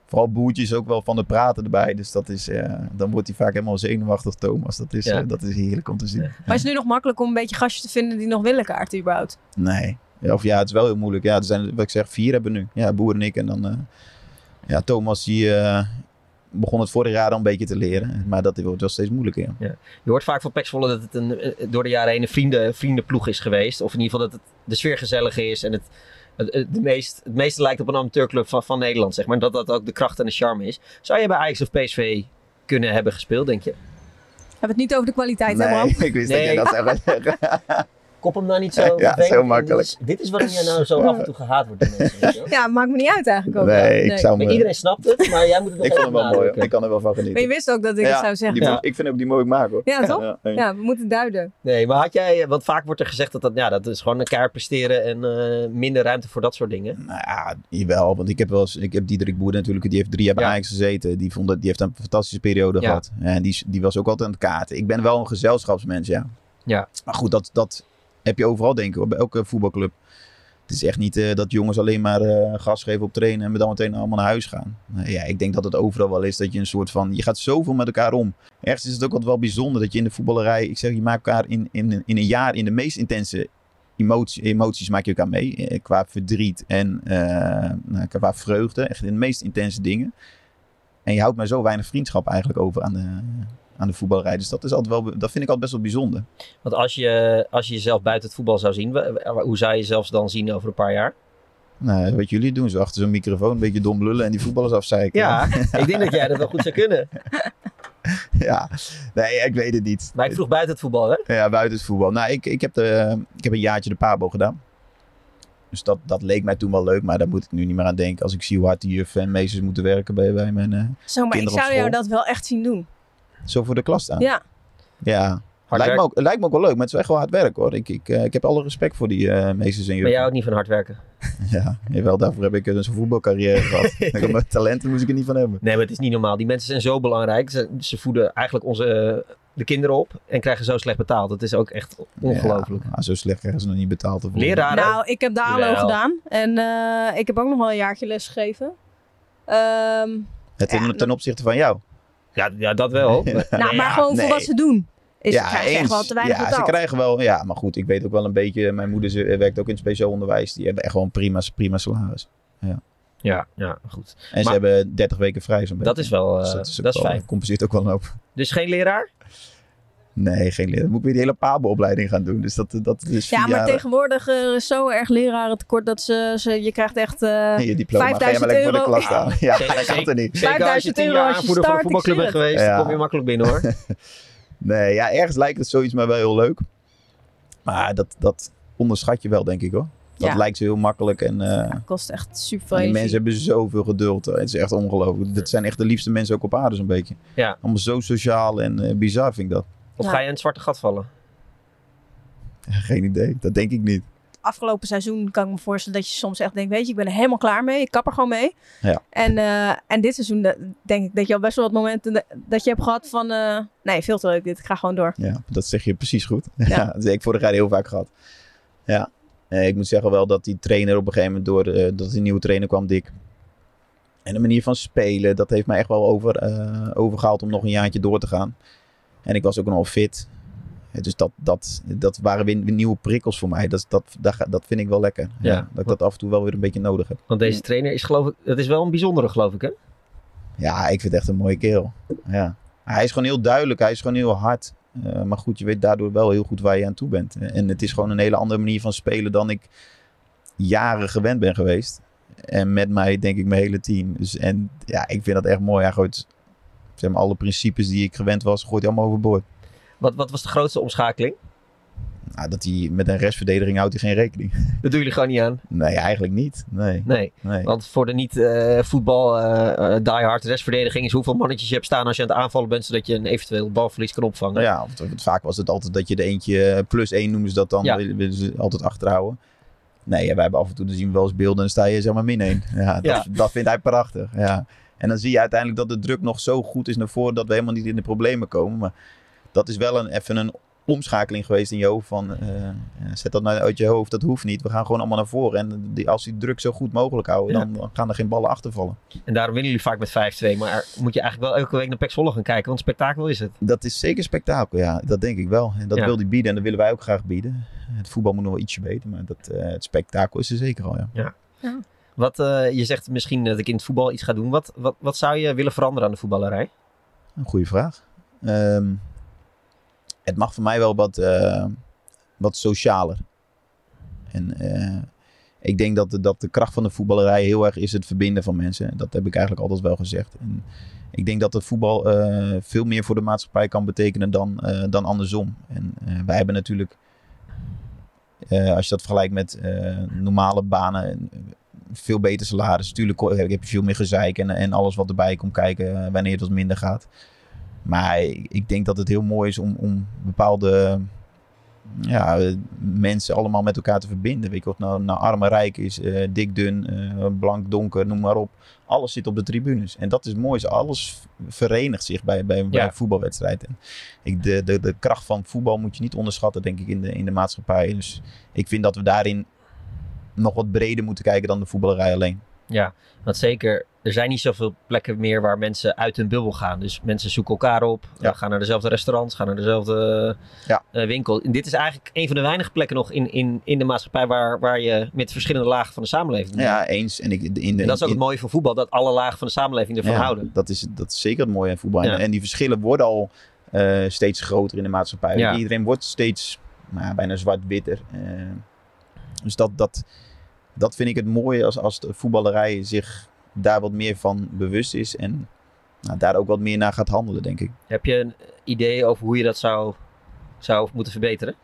Speaker 10: vooral Boertjes ook wel van het praten erbij. Dus dat is, eh, dan wordt hij vaak helemaal zenuwachtig, Thomas. Dat is,
Speaker 3: Ja.
Speaker 10: eh, dat is heerlijk om te zien.
Speaker 3: Maar is het nu nog makkelijk om een beetje gastjes te vinden die nog willen kaarten überhaupt?
Speaker 10: Nee. Ja, of ja, het is wel heel moeilijk. Ja, er zijn, wat ik zeg, vier hebben we nu. Ja, Boer en ik. En dan, eh, ja, Thomas, die eh, begon het vorig jaar al een beetje te leren. Maar dat wordt wel steeds moeilijker, ja.
Speaker 4: Ja. Je hoort vaak van Pexvolle dat het een, eh, door de jaren heen een vrienden, vriendenploeg is geweest. Of in ieder geval dat het, de sfeer gezellig is en het, het, het de meest, het meeste lijkt op een amateurclub van, van Nederland, zeg maar. Dat dat ook de kracht en de charme is. Zou je bij Ajax of PSV kunnen hebben gespeeld, denk je?
Speaker 3: Hebben we het niet over de kwaliteit, hè
Speaker 10: Nee,
Speaker 3: Bram?
Speaker 10: ik wist dat jij dat zou gaan zeggen.
Speaker 4: Kop hem nou niet zo.
Speaker 10: Ja,
Speaker 4: vervelend
Speaker 10: zo
Speaker 4: in.
Speaker 10: makkelijk.
Speaker 4: Dit is, dit is waarom jij nou zo af en toe gehaat wordt door mensen. weet je wel.
Speaker 3: Ja, maakt me niet uit eigenlijk ook.
Speaker 10: Nee, ik zou
Speaker 4: Maar
Speaker 10: me-
Speaker 4: Iedereen snapt het, maar jij moet het nog
Speaker 10: eh, Ik vond hem
Speaker 4: even
Speaker 10: wel mooi. hoor.
Speaker 4: benadrukken.
Speaker 10: Ik kan er wel van
Speaker 3: Maar
Speaker 10: genieten.
Speaker 3: je wist ook dat ik
Speaker 10: Ja,
Speaker 3: het zou zeggen.
Speaker 10: die
Speaker 3: Ja,
Speaker 10: moet- Ik vind ook die mooi maken, hoor.
Speaker 3: toch? Ja,
Speaker 10: eens.
Speaker 3: we moeten het duiden.
Speaker 4: Nee, maar had jij, eh, want vaak wordt er gezegd dat dat, ja, dat is gewoon een kaart presteren en eh, minder ruimte voor dat soort dingen.
Speaker 10: Nou ja, jawel, want ik heb wel eens, ik heb Diederik Boer natuurlijk, die heeft drie jaar bij Ajax gezeten. Die, vond dat, die heeft een fantastische periode
Speaker 4: Ja.
Speaker 10: gehad. En die, die was ook altijd aan het kaarten. Ik ben wel een gezelschapsmens, ja.
Speaker 4: Ja.
Speaker 10: Maar goed, dat, dat heb je overal denk ik, hoor, bij elke voetbalclub. Het is echt niet eh, dat jongens alleen maar eh, gas geven op trainen en dan meteen allemaal naar huis gaan. Nou ja, ik denk dat het overal wel is dat je een soort van. Je gaat zoveel met elkaar om. Ergens is het ook altijd wel bijzonder dat je in de voetballerij. Ik zeg, je maakt elkaar in, in, in een jaar in de meest intense emotie, emoties maak je elkaar mee. eh, Qua verdriet en eh, nou, qua vreugde. Echt in de meest intense dingen. En je houdt maar zo weinig vriendschap eigenlijk over aan de, aan de voetballerij. Dus dat, is altijd wel, dat vind ik altijd best wel bijzonder.
Speaker 4: Want als je, als je jezelf buiten het voetbal zou zien, wa- wa- hoe zou je jezelf dan zien over een paar jaar?
Speaker 10: Nou, wat jullie doen, zo achter zo'n microfoon een beetje dom lullen en die voetballers afzeiken.
Speaker 4: ik denk dat jij dat wel goed zou kunnen.
Speaker 10: ja, nee, ik weet het niet.
Speaker 4: Maar ik vroeg buiten het voetbal, hè?
Speaker 10: Ja, buiten het voetbal. Nou, ik, ik, heb, de, ik heb een jaartje de Pabo gedaan. Dus dat, dat leek mij toen wel leuk, maar daar moet ik nu niet meer aan denken. Als ik zie hoe hard die juffen en meesters moeten werken bij, bij mijn eh
Speaker 3: Zo, maar
Speaker 10: kinderen
Speaker 3: ik
Speaker 10: op
Speaker 3: zou jou
Speaker 10: school.
Speaker 3: dat wel echt zien doen.
Speaker 10: Zo voor de klas staan.
Speaker 3: Ja.
Speaker 10: Ja. Lijkt
Speaker 4: werk.
Speaker 10: me, ook, lijkt me ook wel leuk, maar het is echt wel hard werk hoor. Ik, ik, eh, ik heb alle respect voor die eh, meesters
Speaker 4: Maar
Speaker 10: en juffen.
Speaker 4: jij houdt niet van hard werken.
Speaker 10: Ja, jawel, daarvoor heb ik dus een voetbalcarrière gehad. Ik heb Mijn talenten moest ik er niet van hebben.
Speaker 4: Nee, maar het is niet normaal. Die mensen zijn zo belangrijk. Ze, ze voeden eigenlijk onze, eh, de kinderen op en krijgen zo slecht betaald. Dat is ook echt ongelooflijk.
Speaker 10: Ja, zo slecht krijgen ze nog niet betaald. ervoor.
Speaker 4: Leraren?
Speaker 3: Nou, ik heb de ALO
Speaker 4: Jawel.
Speaker 3: gedaan. En eh, ik heb ook nog wel een jaartje les gegeven. Ehm,
Speaker 10: Het ten, ten opzichte van jou.
Speaker 4: Ja, ja dat wel.
Speaker 3: nou, maar gewoon voor wat ze doen. Is,
Speaker 10: ja,
Speaker 3: krijgen ze echt
Speaker 10: eens.
Speaker 3: wel te weinig
Speaker 10: ja,
Speaker 3: betaald.
Speaker 10: ze krijgen wel. Ja, maar goed, ik weet ook wel een beetje. Mijn moeder ze, eh, werkt ook in het speciaal onderwijs. Die hebben echt gewoon prima, prima salaris. Ja.
Speaker 4: Ja, ja, goed.
Speaker 10: En ze
Speaker 4: Maar-
Speaker 10: hebben 30 weken vrij zo'n beetje.
Speaker 4: Dat
Speaker 10: Dus
Speaker 4: is wel, eh,
Speaker 10: ook
Speaker 4: dat is
Speaker 10: wel-
Speaker 4: fijn.
Speaker 10: compenseert ook wel een hoop.
Speaker 4: Dus geen leraar?
Speaker 10: Nee, geen leraar. Dan moet ik weer die hele pabo-opleiding gaan doen. Dus dat, dat is
Speaker 3: Ja,
Speaker 10: vier
Speaker 3: maar
Speaker 10: jaar-
Speaker 3: tegenwoordig eh, er is zo erg leraren tekort dat ze, ze je krijgt echt eh
Speaker 10: Nee, je diploma. Ga jij maar
Speaker 3: 5000
Speaker 10: lekker voor de
Speaker 3: euro.
Speaker 10: klas staan. Ja,
Speaker 4: Zeker-
Speaker 10: dat kan er niet.
Speaker 4: Zeker als je
Speaker 3: 5000
Speaker 4: tien
Speaker 3: euro
Speaker 4: jaar
Speaker 3: als je
Speaker 4: aanvoerder van een
Speaker 3: start,
Speaker 4: voetbalclub
Speaker 3: ik
Speaker 4: bent
Speaker 3: zie
Speaker 4: geweest,
Speaker 10: het. Ja.
Speaker 4: kom je makkelijk binnen hoor.
Speaker 10: Nee, ja, ergens lijkt het zoiets mij wel heel leuk. Maar dat, dat onderschat je wel, denk ik hoor. Dat
Speaker 3: Ja.
Speaker 10: lijkt zo heel makkelijk. En, eh,
Speaker 3: kost echt super
Speaker 10: en
Speaker 3: veel
Speaker 10: die
Speaker 3: energie.
Speaker 10: mensen hebben zoveel geduld. Het is echt ongelooflijk. Dat zijn echt de liefste mensen ook op aarde, zo'n beetje.
Speaker 4: Ja.
Speaker 10: Allemaal zo sociaal en eh, bizar vind ik dat.
Speaker 4: Of ga je in het zwarte gat vallen?
Speaker 10: Geen idee, dat denk ik niet.
Speaker 3: Afgelopen seizoen kan ik me voorstellen dat je soms echt denkt, weet je, ik ben er helemaal klaar mee. Ik kap er gewoon mee.
Speaker 10: Ja.
Speaker 3: En, eh, en dit seizoen eh, denk ik dat je al best wel wat momenten de- dat je hebt gehad van, eh, nee, veel te leuk dit. Ik ga gewoon door.
Speaker 10: Ja, dat zeg je precies goed. Ja. dat heb ik vorig jaar heel vaak gehad. Ja, Eh, ik moet zeggen wel dat die trainer op een gegeven moment door, eh, dat die nieuwe trainer kwam, Dick. En de manier van spelen, dat heeft mij echt wel over, eh, overgehaald om nog een jaartje door te gaan. En ik was ook nog fit. Eh, Dus dat, dat, dat waren weer weer nieuwe prikkels voor mij. Dat, dat, dat, ga- dat vind ik wel lekker. Ja.
Speaker 4: Ja.
Speaker 10: dat ik dat af en toe wel weer een beetje nodig heb.
Speaker 4: Want deze trainer is geloof ik, dat is wel een bijzondere geloof ik hè?
Speaker 10: Ja, ik vind het echt een mooie kerel. Ja. Hij is gewoon heel duidelijk, hij is gewoon heel hard. Eh, maar goed, je weet daardoor wel heel goed waar je aan toe bent. En het is gewoon een hele andere manier van spelen dan ik jaren gewend ben geweest. En met mij, denk ik, mijn hele team. Dus, en ja, ik vind dat echt mooi. Hij gooit zeg maar, alle principes die ik gewend was, gooit hij allemaal overboord.
Speaker 4: Wat, wat was de grootste omschakeling?
Speaker 10: Nou, dat hij met een restverdediging houdt hij geen rekening.
Speaker 4: Dat doen jullie gewoon niet aan.
Speaker 10: Nee, eigenlijk niet. Nee.
Speaker 4: Nee,
Speaker 10: Nee.
Speaker 4: want voor de eh, niet-voetbal eh, diehard restverdediging is hoeveel mannetjes je hebt staan als je aan het aanvallen bent, zodat je een eventueel balverlies kan opvangen.
Speaker 10: Nou ja, of- of het- vaak was het altijd dat je de eentje eh, plus één noemen ze dat dan,
Speaker 4: Ja.
Speaker 10: willen willen ze altijd achterhouden. Nee, ja, wij hebben af en toe, dan zien we wel eens beelden en dan sta je zeg maar min één. Ja, dat,
Speaker 4: Ja.
Speaker 10: dat vindt hij prachtig. Ja. En dan zie je uiteindelijk dat de druk nog zo goed is naar voren dat we helemaal niet in de problemen komen. Maar dat is wel een, even een omschakeling geweest in je hoofd van eh, ja, zet dat nou uit je hoofd, dat hoeft niet. We gaan gewoon allemaal naar voren en die, als die druk zo goed mogelijk houden,
Speaker 4: Ja.
Speaker 10: dan, dan gaan er geen ballen achtervallen.
Speaker 4: En daarom winnen jullie vaak met 5-2, maar moet je eigenlijk wel elke week naar Pek Zwolle gaan kijken, want spektakel is het.
Speaker 10: Dat is zeker spektakel, ja. Dat denk ik wel. En dat
Speaker 4: Ja.
Speaker 10: wil hij bieden en dat willen wij ook graag bieden. Het voetbal moet nog wel ietsje beter, maar dat, eh, het spektakel is er zeker al, ja.
Speaker 4: Ja. Wat, eh, je zegt misschien dat ik in het voetbal iets ga doen. Wat, wat, wat zou je willen veranderen aan de voetballerij?
Speaker 10: Een goede vraag. Ehm, het mag voor mij wel wat, eh, wat socialer. En eh, ik denk dat de, dat de kracht van de voetballerij heel erg is het verbinden van mensen. Dat heb ik eigenlijk altijd wel gezegd. En ik denk dat het voetbal eh, veel meer voor de maatschappij kan betekenen dan, eh, dan andersom. En eh, wij hebben natuurlijk Eh, als je dat vergelijkt met eh, normale banen, eh, veel beter salaris. Tuurlijk ko- heb je veel meer gezeik en, en alles wat erbij komt kijken eh, wanneer het wat minder gaat. Maar ik ik denk dat het heel mooi is om, om bepaalde ja, eh, mensen allemaal met elkaar te verbinden. Weet je, of nou, nou arm en rijk is, eh, dik, dun, eh, blank, donker, noem maar op. Alles zit op de tribunes. En dat is mooi. is Alles verenigt zich bij, bij, bij
Speaker 4: Ja.
Speaker 10: een voetbalwedstrijd. En ik, de, de, de kracht van voetbal moet je niet onderschatten, denk ik, in de, in de maatschappij. Dus ik vind dat we daarin nog wat breder moeten kijken dan de voetballerij alleen.
Speaker 4: Ja, want zeker, er zijn niet zoveel plekken meer waar mensen uit hun bubbel gaan. Dus mensen zoeken elkaar op, eh, gaan naar dezelfde restaurants, gaan naar dezelfde eh, winkel. En dit is eigenlijk een van de weinige plekken nog in, in, in de maatschappij waar, waar je met verschillende lagen van de samenleving.
Speaker 10: Ja, eens. En, ik, in de,
Speaker 4: en dat is ook
Speaker 10: in-
Speaker 4: het mooie van voetbal, dat alle lagen van de samenleving ervan
Speaker 10: Ja,
Speaker 4: houden.
Speaker 10: Dat is, dat is zeker het mooie aan voetbal. En-
Speaker 4: Ja.
Speaker 10: En die verschillen worden al eh, steeds groter in de maatschappij.
Speaker 4: Ja.
Speaker 10: Iedereen wordt steeds nou, ja, bijna zwart-witter. Eh, dus dat, dat, dat vind ik het mooie als, als de voetballerij zich daar wat meer van bewust is. En nou, daar ook wat meer naar gaat handelen, denk ik.
Speaker 4: Heb je een idee over hoe je dat zou, zou moeten verbeteren?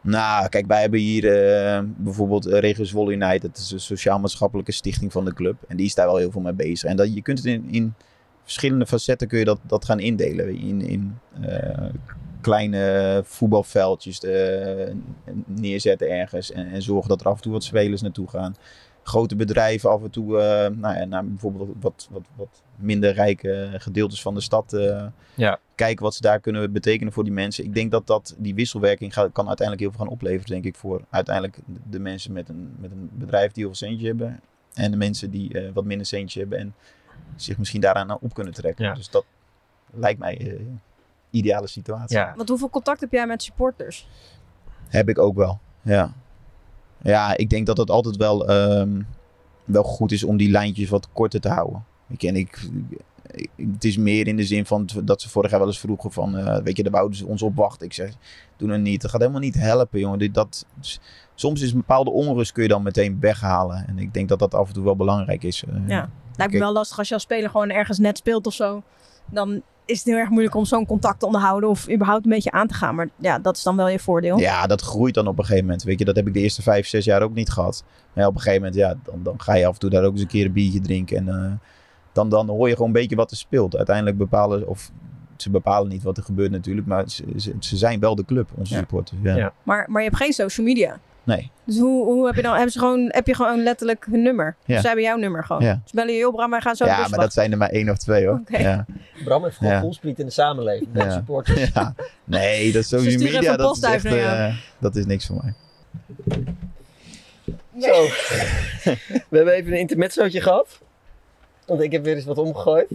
Speaker 10: Nou, kijk, wij hebben hier eh, bijvoorbeeld eh, Regio Zwolle United. Dat is een sociaal-maatschappelijke stichting van de club. En die is daar wel heel veel mee bezig. En dat, je kunt het in, in verschillende facetten kun je dat, dat gaan indelen. In, in eh, kleine voetbalveldjes eh, neerzetten ergens. En, en zorgen dat er af en toe wat spelers naartoe gaan. Grote bedrijven af en toe eh, nou ja, naar bijvoorbeeld wat, wat, wat minder rijke gedeeltes van de stad eh,
Speaker 4: Ja.
Speaker 10: kijken wat ze daar kunnen betekenen voor die mensen. Ik denk dat, dat die wisselwerking gaat, kan uiteindelijk heel veel gaan opleveren, denk ik, voor uiteindelijk de mensen met een, met een bedrijf die heel veel centje hebben. En de mensen die eh, wat minder centje hebben en zich misschien daaraan op kunnen trekken. Dus dat lijkt mij eh, een ideale situatie.
Speaker 3: Want hoeveel contact heb jij met supporters?
Speaker 10: Heb ik ook wel, ja. Ja, ik denk dat het altijd wel, ehm, wel goed is om die lijntjes wat korter te houden. Ik, en ik, ik- het is meer in de zin van t- dat ze vorig jaar wel eens vroegen van... eh, weet je, daar wouden ze ons op wachten. Ik zeg, doe dat niet. Dat gaat helemaal niet helpen, jongen. Dit, dat, s- soms is een bepaalde onrust kun je dan meteen weghalen. En ik denk dat dat af en toe wel belangrijk is. Eh,
Speaker 3: Ja. Lijkt me
Speaker 10: Kijk,
Speaker 3: wel lastig als je als speler gewoon ergens net speelt of zo. Dan is het heel erg moeilijk om zo'n contact te onderhouden of überhaupt een beetje aan te gaan. Maar ja, dat is dan wel je voordeel.
Speaker 10: Ja, dat groeit dan op een gegeven moment. Weet je, dat heb ik de eerste vijf, zes jaar ook niet gehad. Maar ja, op een gegeven moment, ja, dan, dan ga je af en toe daar ook eens een keer een biertje drinken. En eh, dan, dan hoor je gewoon een beetje wat er speelt. Uiteindelijk bepalen, of ze bepalen niet wat er gebeurt natuurlijk, maar ze, ze, ze zijn wel de club, onze supporters. Ja.
Speaker 3: Maar, maar je hebt geen social media.
Speaker 10: Nee.
Speaker 3: Dus hoe, hoe heb je dan? Hebben ze gewoon, heb je gewoon letterlijk hun nummer?
Speaker 10: Ja.
Speaker 3: Ze hebben jouw nummer gewoon.
Speaker 10: Ja.
Speaker 3: Ze bellen je op, Bram, wij gaan zo
Speaker 4: dus
Speaker 10: ja, maar dat zijn er maar één of twee hoor.
Speaker 3: Oké.
Speaker 10: Ja.
Speaker 4: Bram heeft gewoon
Speaker 10: Ja.
Speaker 4: voelspriet in de samenleving, met
Speaker 10: Ja.
Speaker 4: supporters.
Speaker 10: Ja. Nee, dat is
Speaker 4: Ze
Speaker 10: social
Speaker 4: sturen
Speaker 10: media,
Speaker 4: even
Speaker 10: dat
Speaker 4: post
Speaker 10: is,
Speaker 4: uit
Speaker 10: echt,
Speaker 4: naar jou.
Speaker 10: eh, dat is niks voor mij.
Speaker 4: Zo. We hebben even een intermezzootje gehad. Want ik heb weer eens wat omgegooid.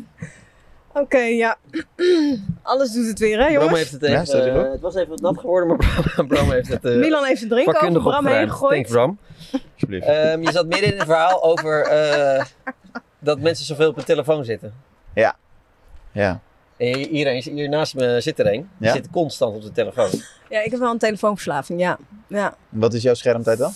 Speaker 3: Oké, ja. Alles doet het weer, hè, jongens?
Speaker 4: Bram heeft het even... eh, het was even wat nat geworden, maar Bram, Bram heeft het... eh,
Speaker 3: Milan heeft zijn drink
Speaker 4: vakkundig
Speaker 3: over Bram heen
Speaker 4: opgeruimd.
Speaker 3: gegooid.
Speaker 4: Thanks, Bram. Ehm, je zat midden in een verhaal over eh, dat mensen zoveel op hun telefoon zitten.
Speaker 10: Ja. Ja.
Speaker 4: En hier- hier, hier naast me zit er een. Die
Speaker 10: Ja?
Speaker 4: zit constant op de telefoon.
Speaker 3: Ja, ik heb wel een telefoonverslaving, ja. ja.
Speaker 10: Wat is jouw schermtijd dan?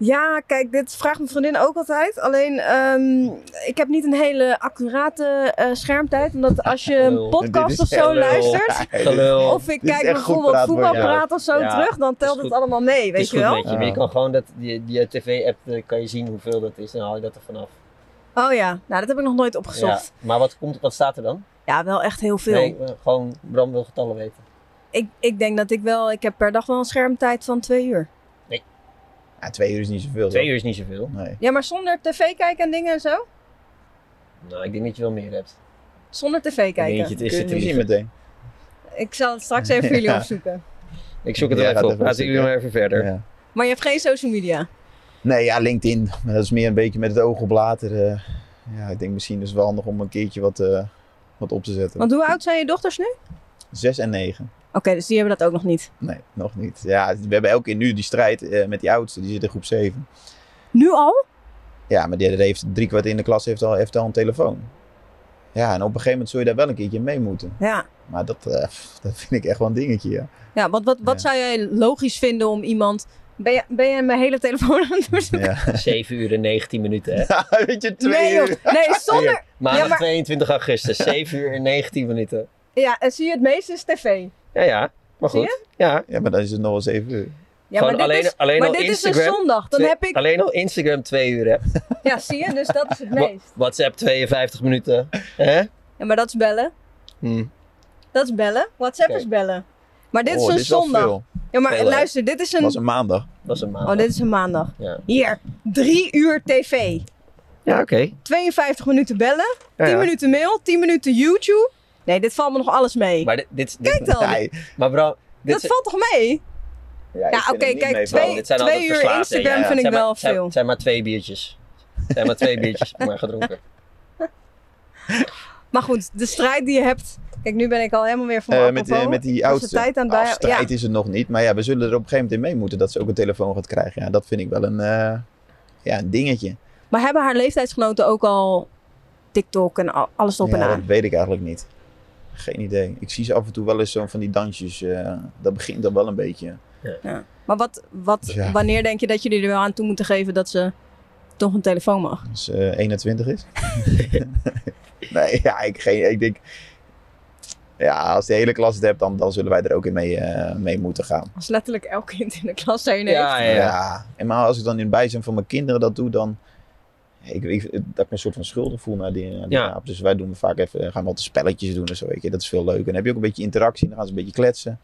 Speaker 3: Ja, kijk, dit vraagt mijn vriendin ook altijd. Alleen, ehm, ik heb niet een hele accurate eh, schermtijd. Omdat als je een podcast
Speaker 10: Dit
Speaker 3: of
Speaker 10: is
Speaker 3: zo
Speaker 10: gelul.
Speaker 3: luistert...
Speaker 4: Gelul.
Speaker 3: Of ik
Speaker 4: Dit is
Speaker 3: kijk
Speaker 4: echt goed
Speaker 3: bijvoorbeeld
Speaker 4: praatwoord.
Speaker 3: voetbalpraat of zo
Speaker 4: Ja.
Speaker 3: terug... dan
Speaker 4: Is
Speaker 3: telt
Speaker 4: goed.
Speaker 3: het allemaal mee,
Speaker 4: Het
Speaker 3: weet
Speaker 4: is
Speaker 3: je
Speaker 4: goed
Speaker 3: wel?
Speaker 4: met je, maar je kan gewoon dat, die, die tv-app eh, kan je zien hoeveel dat is. Dan haal je dat er vanaf.
Speaker 3: Oh ja, nou, dat heb ik nog nooit opgezocht.
Speaker 4: Ja, maar wat, komt, wat staat er dan?
Speaker 3: Ja, wel echt heel veel.
Speaker 4: Nee, eh, gewoon Bram wil getallen weten.
Speaker 3: Ik, ik denk dat ik wel... Ik heb per dag wel een schermtijd van twee uur.
Speaker 10: Ja, twee uur is niet zoveel.
Speaker 4: Twee uur is niet zoveel.
Speaker 10: Nee.
Speaker 3: Ja, maar zonder tv kijken en dingen en zo?
Speaker 4: Nou, ik denk dat je wel meer hebt.
Speaker 3: Zonder tv kijken.
Speaker 4: Jeetje, het is
Speaker 10: Kun je
Speaker 4: het
Speaker 10: nu
Speaker 4: niet.
Speaker 10: zien meteen.
Speaker 3: Ik zal het straks even voor jullie
Speaker 10: Ja.
Speaker 3: opzoeken.
Speaker 4: Ik zoek het wel
Speaker 10: Ja,
Speaker 4: even op.
Speaker 10: gaat even
Speaker 4: Laten jullie maar even verder.
Speaker 10: Ja.
Speaker 3: Maar je hebt geen social media.
Speaker 10: Nee, ja, LinkedIn. Maar dat is meer een beetje met het oog op later. eh. ja, ik denk misschien is het wel handig om een keertje wat, eh, wat op te zetten.
Speaker 3: Want hoe oud zijn je dochters nu?
Speaker 10: Zes en negen.
Speaker 3: Oké, dus die hebben dat ook nog niet.
Speaker 10: Nee, nog niet. Ja, we hebben elke keer nu die strijd eh, met die oudste. Die zit in groep 7.
Speaker 3: Nu al?
Speaker 10: Ja, maar die, die heeft drie kwart in de klas heeft al, heeft al een telefoon. Ja, en op een gegeven moment zul je daar wel een keertje mee moeten.
Speaker 3: Ja.
Speaker 10: Maar dat, eh, pff, dat vind ik echt wel een dingetje, ja.
Speaker 3: Ja, wat, wat, wat zou jij logisch vinden om iemand... Ben je, ben je mijn hele telefoon aan het doen?
Speaker 10: Ja.
Speaker 4: 7 uur en 19 minuten, hè?
Speaker 10: Weet je,
Speaker 3: Nee, joh. Nee, zonder...
Speaker 4: Maandag
Speaker 3: Ja, maar-
Speaker 4: 22 augustus, 7 uur en 19 minuten.
Speaker 3: Ja, en zie je het meeste is tv.
Speaker 4: Ja, ja. Maar
Speaker 3: Zie
Speaker 4: goed.
Speaker 3: je?
Speaker 4: Ja.
Speaker 10: ja, maar dan is het nog wel eens even...
Speaker 3: Ja,
Speaker 4: Gewoon
Speaker 3: maar dit
Speaker 4: alleen,
Speaker 3: is-
Speaker 4: alleen
Speaker 3: maar
Speaker 4: al
Speaker 3: dit is een
Speaker 4: Instagram,
Speaker 3: zondag, dan
Speaker 4: twee-
Speaker 3: heb ik-
Speaker 4: Alleen al Instagram 2 uur, hè?
Speaker 3: Ja, zie je? Dus dat is het
Speaker 4: Wa-
Speaker 3: meest.
Speaker 4: WhatsApp 52 minuten. hè?
Speaker 3: Ja, maar dat is bellen.
Speaker 4: Hm.
Speaker 3: Dat is bellen. WhatsApp
Speaker 4: Oké.
Speaker 3: is bellen. Maar dit
Speaker 10: Oh,
Speaker 3: is een
Speaker 10: dit is wel
Speaker 3: zondag.
Speaker 10: veel.
Speaker 3: Ja, maar
Speaker 10: Veel, hè?
Speaker 3: luister, dit is een...
Speaker 10: was een maandag.
Speaker 4: was een maand.
Speaker 3: Oh, dit is een maandag.
Speaker 4: Ja,
Speaker 3: Hier, drie uur tv.
Speaker 4: ja oké.
Speaker 3: 52 minuten bellen,
Speaker 4: Ja,
Speaker 3: 10
Speaker 4: ja.
Speaker 3: minuten mail, 10 minuten YouTube. Nee, dit valt me nog alles mee.
Speaker 4: Maar dit, dit,
Speaker 3: Kijk dan.
Speaker 4: Maar bro, dit
Speaker 3: dat
Speaker 4: is-
Speaker 3: valt toch mee?
Speaker 4: Ja, ik
Speaker 14: Nou,
Speaker 4: vind
Speaker 14: oké,
Speaker 4: het niet
Speaker 14: kijk,
Speaker 4: mee vallen.
Speaker 14: twee-
Speaker 4: Dit zijn
Speaker 14: twee
Speaker 4: altijd
Speaker 14: uur
Speaker 4: verslaten.
Speaker 14: Instagram vind
Speaker 4: het
Speaker 14: ik
Speaker 4: zijn maar-
Speaker 14: wel
Speaker 4: zijn-
Speaker 14: veel.
Speaker 4: Het zijn maar twee biertjes. Het zijn maar twee biertjes, maar gedronken.
Speaker 3: Maar goed, de strijd die je hebt. Kijk, nu ben ik al helemaal weer van mijn
Speaker 10: Eh, met,
Speaker 3: apropos.
Speaker 10: eh, met die
Speaker 3: Was de
Speaker 10: oudste
Speaker 3: tijd aan het
Speaker 10: Ah,
Speaker 3: bij-
Speaker 10: strijd
Speaker 3: ja.
Speaker 10: is het nog niet. Maar ja, we zullen er op een gegeven moment in mee moeten dat ze ook een telefoon gaat krijgen. Ja, dat vind ik wel een, eh, ja, een dingetje.
Speaker 3: Maar hebben haar leeftijdsgenoten ook al TikTok en al- alles op
Speaker 10: ja,
Speaker 3: en
Speaker 10: Dat
Speaker 3: aan?
Speaker 10: weet ik eigenlijk niet. Geen idee. Ik zie ze af en toe wel eens zo'n van die dansjes. eh, dat begint dan wel een beetje.
Speaker 3: Ja. Maar wat, wat,
Speaker 10: Dus ja.
Speaker 3: wanneer denk je dat jullie er wel aan toe moeten geven dat ze toch een telefoon mag?
Speaker 10: Als ze eh, 21 is. nee, ja, ik, geen, ik denk... Ja, als de hele klas het hebt, dan, dan zullen wij er ook in mee, eh, mee moeten gaan.
Speaker 3: Als letterlijk elk kind in de klas heen heeft.
Speaker 10: Ja, En maar als ik dan in het bijzijn van mijn kinderen dat doe, dan... Ik, ik, dat ik me een soort van schuldig voel naar die, naar die
Speaker 4: Ja.
Speaker 10: aap. Dus wij doen vaak even, gaan wat spelletjes doen en zo, weet je. Dat is veel leuker. En dan heb je ook een beetje interactie, dan gaan ze een beetje kletsen.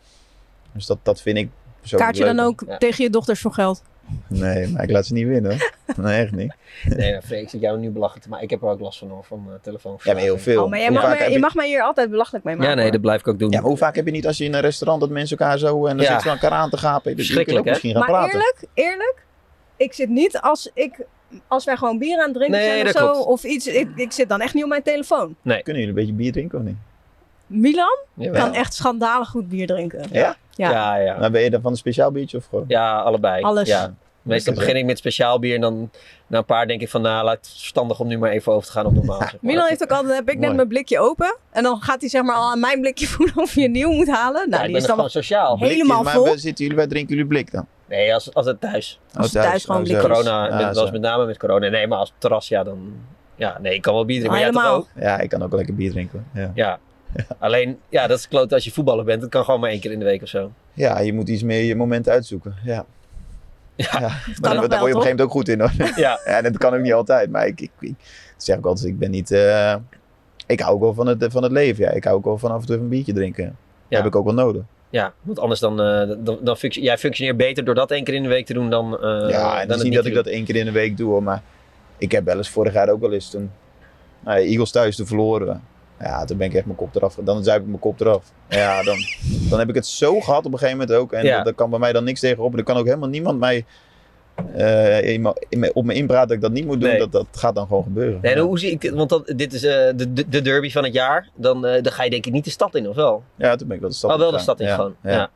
Speaker 10: Dus dat, dat vind ik persoonlijk
Speaker 3: Kaart je dan
Speaker 10: leuker.
Speaker 3: ook tegen je dochters voor geld?
Speaker 10: Nee, maar ik laat ze niet winnen. hoor. Nee, echt niet.
Speaker 4: Nee, maar Freek, ik zit jou nu belachelijk, maar ik heb er ook last van hoor, van mijn telefoon.
Speaker 10: Ja, maar heel veel.
Speaker 3: Oh, maar jij mag me- je mag mij hier altijd belachelijk mee maken. hoor.
Speaker 4: blijf ik ook doen.
Speaker 10: Ja, maar hoe vaak heb je niet als je in een restaurant dat mensen elkaar zo en dan
Speaker 4: Ja.
Speaker 10: zitten ze aan elkaar aan te gapen. Dus je kunt
Speaker 4: Verschrikkelijk,
Speaker 10: ook
Speaker 4: hè?
Speaker 10: misschien gaan
Speaker 3: maar
Speaker 10: praten.
Speaker 3: eerlijk, eerlijk, ik zit niet als ik als wij gewoon bier aan het drinken
Speaker 10: Nee,
Speaker 3: zijn of
Speaker 10: dat
Speaker 3: zo
Speaker 10: klopt.
Speaker 3: of iets. Ik, ik zit dan echt niet op mijn telefoon.
Speaker 4: Nee.
Speaker 10: Kunnen jullie een beetje bier drinken of niet?
Speaker 3: Milan
Speaker 10: Jawel.
Speaker 3: kan echt schandalig goed bier drinken.
Speaker 10: Ja?
Speaker 3: Ja.
Speaker 4: Ja, ja.
Speaker 10: Maar ben je dan van een speciaal biertje of gewoon?
Speaker 4: Ja, allebei.
Speaker 3: Alles.
Speaker 4: Ja. Meestal begin ik met speciaal bier en dan na een paar denk ik van, nou, laat het verstandig om nu maar even over te gaan op normaal. zeg maar.
Speaker 3: Milan heeft ook altijd, heb ik net
Speaker 4: Mooi.
Speaker 3: mijn blikje open. En dan gaat hij zeg maar al aan mijn blikje voelen of je een nieuw moet halen.
Speaker 4: ik
Speaker 3: Nou, die
Speaker 4: ben
Speaker 3: is dan
Speaker 4: gewoon sociaal.
Speaker 3: helemaal
Speaker 10: maar
Speaker 3: vol.
Speaker 10: we zitten jullie, wij drinken jullie blik dan?
Speaker 4: Nee, als, als het thuis.
Speaker 10: Als het thuis thuis, gewoon oh, blikjes.
Speaker 4: Corona,
Speaker 10: Ah,
Speaker 4: met, was
Speaker 10: zo.
Speaker 4: met name met corona. Nee, maar als op terras, ja, dan... Ja, nee, ik kan wel bier drinken, maar jij toch ook?
Speaker 10: Ja, ik kan ook lekker bier drinken. hoor. Ja.
Speaker 4: Ja. Alleen, ja, dat is kloot als je voetballer bent. Dat kan gewoon maar één keer in de week of zo.
Speaker 10: ja, je moet iets meer je moment uitzoeken. Ja. Ja, maar
Speaker 4: nog
Speaker 10: daar
Speaker 4: wel,
Speaker 10: daar word je op een gegeven moment ook goed in hoor.
Speaker 4: Ja.
Speaker 10: en dat kan ook niet altijd. Maar ik, ik, ik zeg ook altijd, ik ben niet... eh, ik hou ook wel van het, van het leven. Ja. Ik hou ook wel van af en toe even een biertje drinken. Dat heb ik ook wel nodig.
Speaker 4: Ja, want anders dan... eh, dan, dan functio- jij functioneert beter door dat één keer in de week te doen dan... eh,
Speaker 10: ja, en
Speaker 4: dan
Speaker 10: het is niet dat ik dat één keer in de week doe, hoor, maar ik heb wel eens vorig jaar ook wel eens toen nou ja, Eagles thuis te verloren. we. Ja, toen ben ik echt mijn kop eraf. ge- Dan zuip ik mijn kop eraf. Ja, dan, dan heb ik het zo gehad op een gegeven moment ook. En
Speaker 4: Ja.
Speaker 10: dat, daar kan bij mij dan niks tegenop. En er kan ook helemaal niemand mij eh, in me- in me- op me inpraten dat ik dat niet moet doen.
Speaker 4: Nee.
Speaker 10: Dat, dat gaat dan gewoon gebeuren.
Speaker 4: Nee, dan hoe zie ik dit? Want dat, dit is eh, de, de- de derby van het jaar. Dan, eh, dan ga je denk ik niet de stad in, of wel?
Speaker 10: Ja, toen ben ik wel de stad
Speaker 4: Oh, wel de
Speaker 10: ingegaan.
Speaker 4: stad ingegaan.
Speaker 10: Ja,
Speaker 4: Ja.
Speaker 10: ja.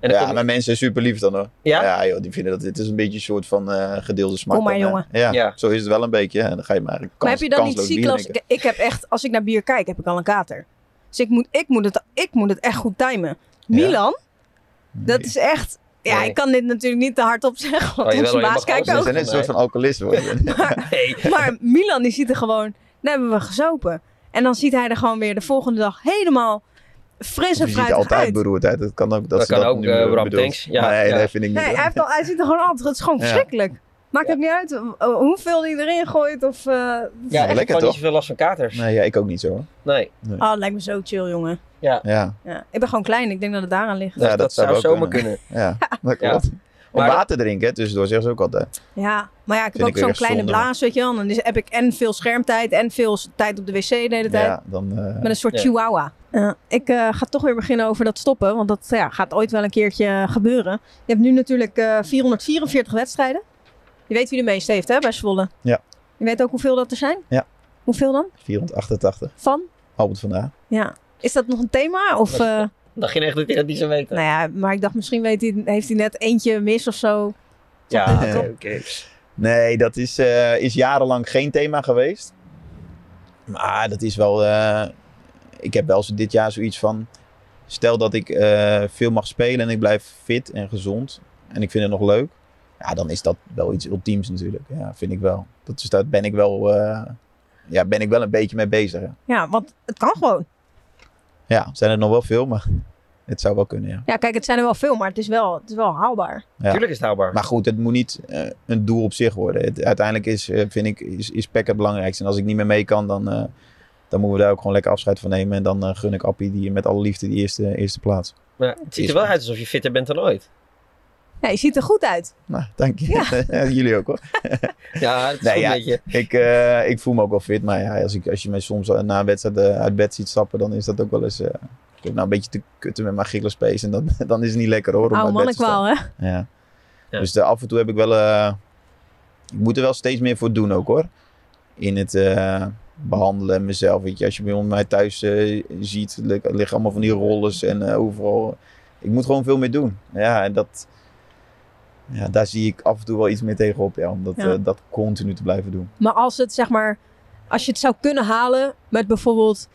Speaker 4: En dan
Speaker 10: ja, nou,
Speaker 4: komt-
Speaker 10: maar mensen zijn super lief dan hoor.
Speaker 4: Ja?
Speaker 10: joh, die vinden dat dit is een beetje een soort van eh, gedeelde smaak.
Speaker 3: Kom maar,
Speaker 10: dan, hè.
Speaker 3: jongen.
Speaker 10: Ja, zo is het wel een beetje. hè. En dan ga je maar kans,
Speaker 3: maar heb je dan niet
Speaker 10: kansloos
Speaker 3: ziek
Speaker 10: bier
Speaker 3: als
Speaker 10: drinken.
Speaker 3: ik, ik heb echt, als ik naar bier kijk, heb ik al een kater. Dus ik moet, ik moet, het, ik moet het echt goed timen. Milan, dat is echt. Ja,
Speaker 10: Nee.
Speaker 3: ik kan dit natuurlijk niet te hard op zeggen, want
Speaker 10: Oh, jawel,
Speaker 3: onze
Speaker 10: hoor, je
Speaker 3: baas
Speaker 10: mag
Speaker 3: kijkt
Speaker 10: alles
Speaker 3: ook.
Speaker 10: zeggen. Het is net een soort van alcoholist worden.
Speaker 3: Maar Milan die ziet er gewoon, nou hebben we gezopen. En dan ziet hij er gewoon weer de volgende dag helemaal fris
Speaker 10: Je
Speaker 3: en
Speaker 10: ziet
Speaker 3: fruitig
Speaker 10: altijd
Speaker 3: uit.
Speaker 10: beroerdheid. Dat kan ook dat,
Speaker 4: Dat
Speaker 10: ze
Speaker 4: kan
Speaker 10: dat
Speaker 4: ook,
Speaker 10: nu
Speaker 4: eh,
Speaker 10: eh,
Speaker 4: Bram
Speaker 10: bedoelt.
Speaker 4: Tanks. Ja,
Speaker 10: nee,
Speaker 4: ja.
Speaker 10: dat vind ik niet.
Speaker 3: Nee, hij, heeft al, hij ziet er gewoon altijd, het is gewoon
Speaker 10: Ja.
Speaker 3: verschrikkelijk. Maakt ook niet uit eh, hoeveel hij erin gooit of... eh, het is
Speaker 4: Ja,
Speaker 3: echt-
Speaker 4: ik
Speaker 10: lekker,
Speaker 4: kan niet
Speaker 10: toch?
Speaker 4: zoveel last van katers.
Speaker 10: Nee, ja, ik ook niet zo. hoor.
Speaker 4: Nee.
Speaker 3: Oh, het lijkt me zo chill, jongen.
Speaker 4: Ja.
Speaker 10: Ja.
Speaker 3: Ja. Ik ben gewoon klein, ik denk dat het daaraan ligt.
Speaker 10: Ja, dat zou
Speaker 4: zou
Speaker 10: wel
Speaker 4: zomaar
Speaker 10: Ja, dat klopt. Om water drinken, hè, tussendoor zeggen ze ook altijd.
Speaker 3: Ja, maar ja, ik heb
Speaker 10: Vind
Speaker 3: ook
Speaker 10: ik weer
Speaker 3: zo'n
Speaker 10: echt
Speaker 3: kleine
Speaker 10: zonde.
Speaker 3: blaas, weet je wel. Dan is, heb ik en veel schermtijd en veel s- tijd op de wc de hele tijd.
Speaker 10: Ja, dan... eh,
Speaker 3: Met een soort chihuahua. Eh, ik eh, ga toch weer beginnen over dat stoppen, want dat ja, gaat ooit wel een keertje eh, gebeuren. Je hebt nu natuurlijk eh, 444 wedstrijden. Je weet wie de meeste heeft, hè, bij Zwolle.
Speaker 10: Ja,
Speaker 3: Je weet ook hoeveel dat er zijn?
Speaker 10: ja.
Speaker 3: Hoeveel dan?
Speaker 10: 488.
Speaker 3: Van?
Speaker 10: Albert vandaag.
Speaker 3: Ja. Is dat nog een thema? Of, eh,
Speaker 4: Dan ging echt dat je dat niet zou weten.
Speaker 3: nou ja, maar ik dacht misschien weet hij, heeft hij net eentje mis of zo.
Speaker 10: Ja, oké. Nee, dat is, eh, is jarenlang geen thema geweest. Maar dat is wel. eh, ik heb wel zo dit jaar zoiets van. Stel dat ik eh, veel mag spelen en ik blijf fit en gezond. En ik vind het nog leuk. Ja, dan is dat wel iets ultiems natuurlijk. Ja, vind ik wel. Dat is, daar ben ik wel. eh, ja, ben ik wel een beetje mee bezig. ja.
Speaker 3: Ja, want het kan gewoon.
Speaker 10: Ja, zijn er nog wel veel, maar het zou wel kunnen, ja.
Speaker 3: Ja, kijk, het zijn er wel veel, maar het is wel, het is wel haalbaar.
Speaker 4: Tuurlijk is het haalbaar.
Speaker 10: Maar goed, het moet niet eh, een doel op zich worden. Het, uiteindelijk is, eh, vind ik, is, is PEC het belangrijkste. En als ik niet meer mee kan, dan, eh, dan moeten we daar ook gewoon lekker afscheid van nemen. En dan eh, gun ik Appie die, met alle liefde die eerste, eerste plaats.
Speaker 4: Maar het ziet er wel uit alsof je fitter bent dan ooit.
Speaker 3: Ja, je ziet er goed uit.
Speaker 10: Nou, dank je. Jullie ook hoor.
Speaker 4: Ja, het is
Speaker 10: Nee,
Speaker 4: een
Speaker 10: ja,
Speaker 4: beetje...
Speaker 10: ik, eh, ik voel me ook wel fit. Maar ja, als, ik, als je mij soms eh, na een wedstrijd eh, uit bed ziet stappen, dan is dat ook wel eens... eh, Ik heb nou een beetje te kutten met mijn gillespace. En dan, dan is het niet lekker hoor. om
Speaker 3: Oude
Speaker 10: uit bed te staan.
Speaker 3: mannenkwaal, hè?
Speaker 10: Ja. Dus eh, af en toe heb ik wel. eh, ik moet er wel steeds meer voor doen ook hoor. In het eh, behandelen en mezelf. Weet je, als je bij mij thuis eh, ziet, lig- liggen allemaal van die rollers en eh, overal. Ik moet gewoon veel meer doen. Ja, en dat. Ja, daar zie ik af en toe wel iets meer tegenop. Ja, om dat,
Speaker 3: Ja.
Speaker 10: eh, dat continu te blijven doen.
Speaker 3: Maar als het zeg maar, als je het zou kunnen halen met bijvoorbeeld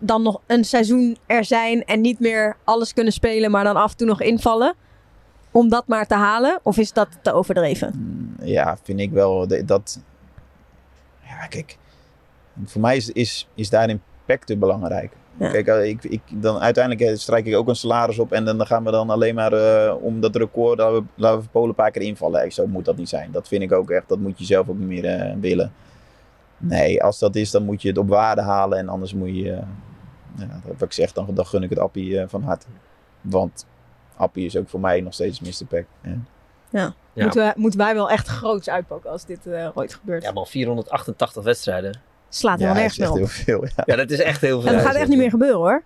Speaker 3: dan nog een seizoen er zijn en niet meer alles kunnen spelen, maar dan af en toe nog invallen, om dat maar te halen, of is dat te overdreven?
Speaker 10: ja, vind ik wel de- dat. Ja, kijk. Voor mij is, is, is daarin pacten belangrijk. Kijk, eh, ik, ik, dan uiteindelijk eh, strijk ik ook een salaris op en dan gaan we dan alleen maar eh, om dat record, laten we, laten we Polen een paar keer invallen. Eh, Zo moet dat niet zijn. Dat vind ik ook echt, dat moet je zelf ook niet meer eh, willen. Nee, als dat is, dan moet je het op waarde halen en anders moet je, eh, ja, wat ik zeg, dan, dan gun ik het Appie eh, van harte. Want Appie is ook voor mij nog steeds Mr. Pack. Ja.
Speaker 3: Ja.
Speaker 4: Ja.
Speaker 3: Moeten, wij, moeten wij wel echt groots uitpakken als dit eh, ooit gebeurt.
Speaker 4: Ja, man, 488 wedstrijden.
Speaker 3: Slaat helemaal nergens meer op.
Speaker 10: heel veel. Ja.
Speaker 4: dat is echt heel
Speaker 3: En
Speaker 4: veel.
Speaker 3: dat gaat echt niet meer gebeuren hoor.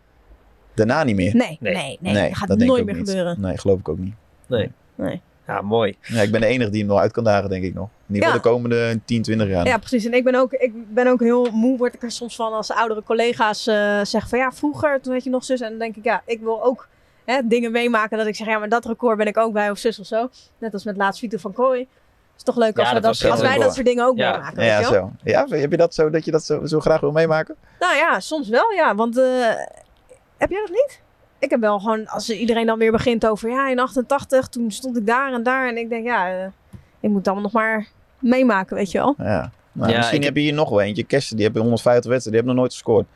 Speaker 10: Daarna niet meer?
Speaker 3: Nee, nee, nee, dat gaat
Speaker 10: denk ik
Speaker 3: nooit
Speaker 10: ook
Speaker 3: meer
Speaker 10: niet.
Speaker 3: gebeuren.
Speaker 10: Nee, geloof ik ook niet.
Speaker 4: Nee.
Speaker 3: Nee.
Speaker 4: Ja, mooi.
Speaker 10: Ja, ik ben de enige die hem nog uit kan dagen, denk ik nog. In ieder
Speaker 3: Ja.
Speaker 10: geval de komende 10, 20 jaar.
Speaker 3: Ja, precies. En ik ben, ook, ik ben ook heel moe, word ik er soms van als oudere collega's eh, zeggen van ja, vroeger, toen had je nog zus. En dan denk ik, ja, ik wil ook hè, dingen meemaken dat ik zeg, ja, maar dat record ben ik ook bij of zus of zo. Net als met laatst Vito van Kooi. is toch leuk
Speaker 10: Ja,
Speaker 3: als, we
Speaker 10: dat was
Speaker 3: dat,
Speaker 10: heel
Speaker 3: als wij
Speaker 10: leuk,
Speaker 3: dat
Speaker 10: hoor.
Speaker 3: soort dingen ook
Speaker 10: Ja.
Speaker 3: meemaken. weet
Speaker 10: Ja,
Speaker 3: je wel?
Speaker 10: zo. ja, zo. heb je dat zo, dat je dat zo, zo graag wil meemaken?
Speaker 3: Nou ja, soms wel, ja. Want eh, heb jij dat niet? Ik heb wel gewoon, als iedereen dan weer begint over, ja, in 88, toen stond ik daar en daar. En ik denk, ja, eh, ik moet het allemaal nog maar meemaken, weet je wel.
Speaker 10: Ja. Nou,
Speaker 4: Ja,
Speaker 10: misschien
Speaker 4: ik-
Speaker 10: heb je hier nog wel eentje. Kersten, die hebben 150 wedstrijden, die hebben nog nooit gescoord.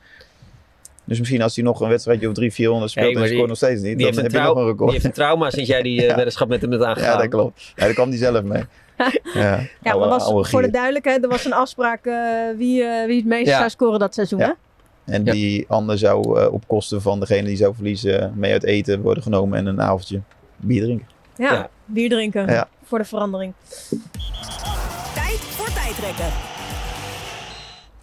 Speaker 10: Dus misschien als hij nog een wedstrijdje of 3, 400 speelt
Speaker 4: Hey,
Speaker 10: en
Speaker 4: maar
Speaker 10: hij
Speaker 4: die-
Speaker 10: scoort nog steeds niet,
Speaker 4: die
Speaker 10: dan
Speaker 4: heeft
Speaker 10: heb
Speaker 4: een
Speaker 10: je nog
Speaker 4: trau-
Speaker 10: een record.
Speaker 4: die heeft een trauma sinds jij die, eh, weddenschap met hem hebt aangegaan.
Speaker 10: Ja, dat klopt. Ja, daar kwam hij zelf mee. Ja,
Speaker 3: Ja,
Speaker 10: Oude-
Speaker 3: maar was,
Speaker 10: oude
Speaker 3: voor de
Speaker 10: gier.
Speaker 3: duidelijkheid, er was een afspraak eh, wie, eh, wie het meest
Speaker 10: Ja.
Speaker 3: zou scoren dat seizoen. Hè?
Speaker 10: En die ander zou eh, op kosten van degene die zou verliezen mee uit eten worden genomen en een avondje bier drinken.
Speaker 3: Ja, bier drinken
Speaker 10: Ja.
Speaker 3: voor de verandering.
Speaker 2: Tijd voor tijdrekken.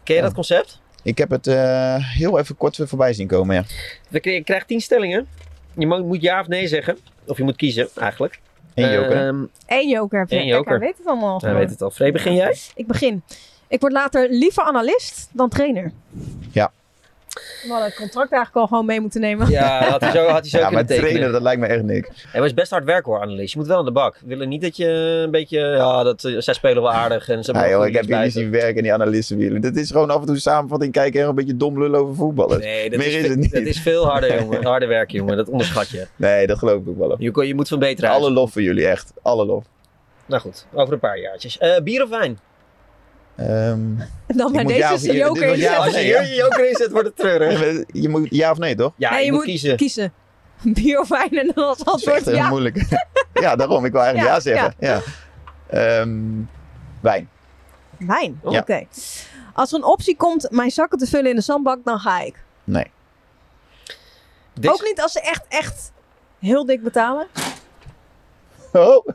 Speaker 4: Ken je dat concept?
Speaker 10: Ik heb het eh, heel even kort weer voorbij zien komen, ja.
Speaker 4: We kri- Je krijgt tien stellingen. Je mo- moet ja of nee zeggen. Of je moet kiezen, eigenlijk.
Speaker 10: Eén joker, hè?
Speaker 4: Ehm,
Speaker 3: Eén joker.
Speaker 4: Eén
Speaker 3: Eén
Speaker 4: joker.
Speaker 3: Hij weet het allemaal.
Speaker 4: Hij weet het al. Free, begin jij?
Speaker 3: Ik begin. Ik word later liever analist dan trainer.
Speaker 10: Ja.
Speaker 3: We hadden het contract eigenlijk al gewoon mee moeten nemen.
Speaker 4: Ja, had hij zo, had hij zo
Speaker 10: ja,
Speaker 4: kunnen
Speaker 10: maar trainen,
Speaker 4: tekenen.
Speaker 10: dat lijkt me echt niks.
Speaker 4: Hij was best hard werken hoor, analist. Je moet wel aan de bak. We willen niet dat je een beetje... Ja, dat, eh, zij spelen wel aardig. En ze hebben
Speaker 10: Ja,
Speaker 4: wel
Speaker 10: joh,
Speaker 4: goede
Speaker 10: ik heb jullie
Speaker 4: linksbuiten.
Speaker 10: zien werken en die analisten weer. Dat is gewoon af en toe samenvatting kijken en een beetje dom lullen over voetballers.
Speaker 4: Nee, dat,
Speaker 10: Meer
Speaker 4: is,
Speaker 10: is,
Speaker 4: ve-
Speaker 10: het niet.
Speaker 4: dat is veel harder, jongen. Harder werken, jongen. Dat onderschat je.
Speaker 10: Nee, dat geloof ik wel.
Speaker 4: Je, kon- je moet van beter
Speaker 10: Alle lof voor jullie, echt. Alle lof.
Speaker 4: Nou goed, over een paar jaartjes. Eh, bier of wijn?
Speaker 10: Ehm,
Speaker 3: Dan
Speaker 10: ik
Speaker 3: maar
Speaker 10: moet
Speaker 3: deze
Speaker 10: ja of-
Speaker 3: is de
Speaker 10: dit was
Speaker 3: joker.
Speaker 10: ja of
Speaker 4: Als je
Speaker 10: nee,
Speaker 4: hier
Speaker 10: hè?
Speaker 4: je joker in zet, wordt het treurig.
Speaker 10: Ja, Je moet ja of nee, toch?
Speaker 4: Ja,
Speaker 3: Nee,
Speaker 4: je, moet kiezen.
Speaker 3: Bier of wijn en dan als
Speaker 10: Dat is echt
Speaker 3: antwoord
Speaker 10: heel
Speaker 3: ja.
Speaker 10: moeilijk. ja, daarom. Ik wil eigenlijk
Speaker 3: Ja,
Speaker 10: ja, zeggen. Ja. Ehm, wijn.
Speaker 3: Wijn,
Speaker 10: Ja.
Speaker 3: oké. Als er een optie komt mijn zakken te vullen in de zandbak, dan ga ik.
Speaker 10: Nee.
Speaker 3: Ook niet als ze echt, echt heel dik betalen.
Speaker 10: Oh,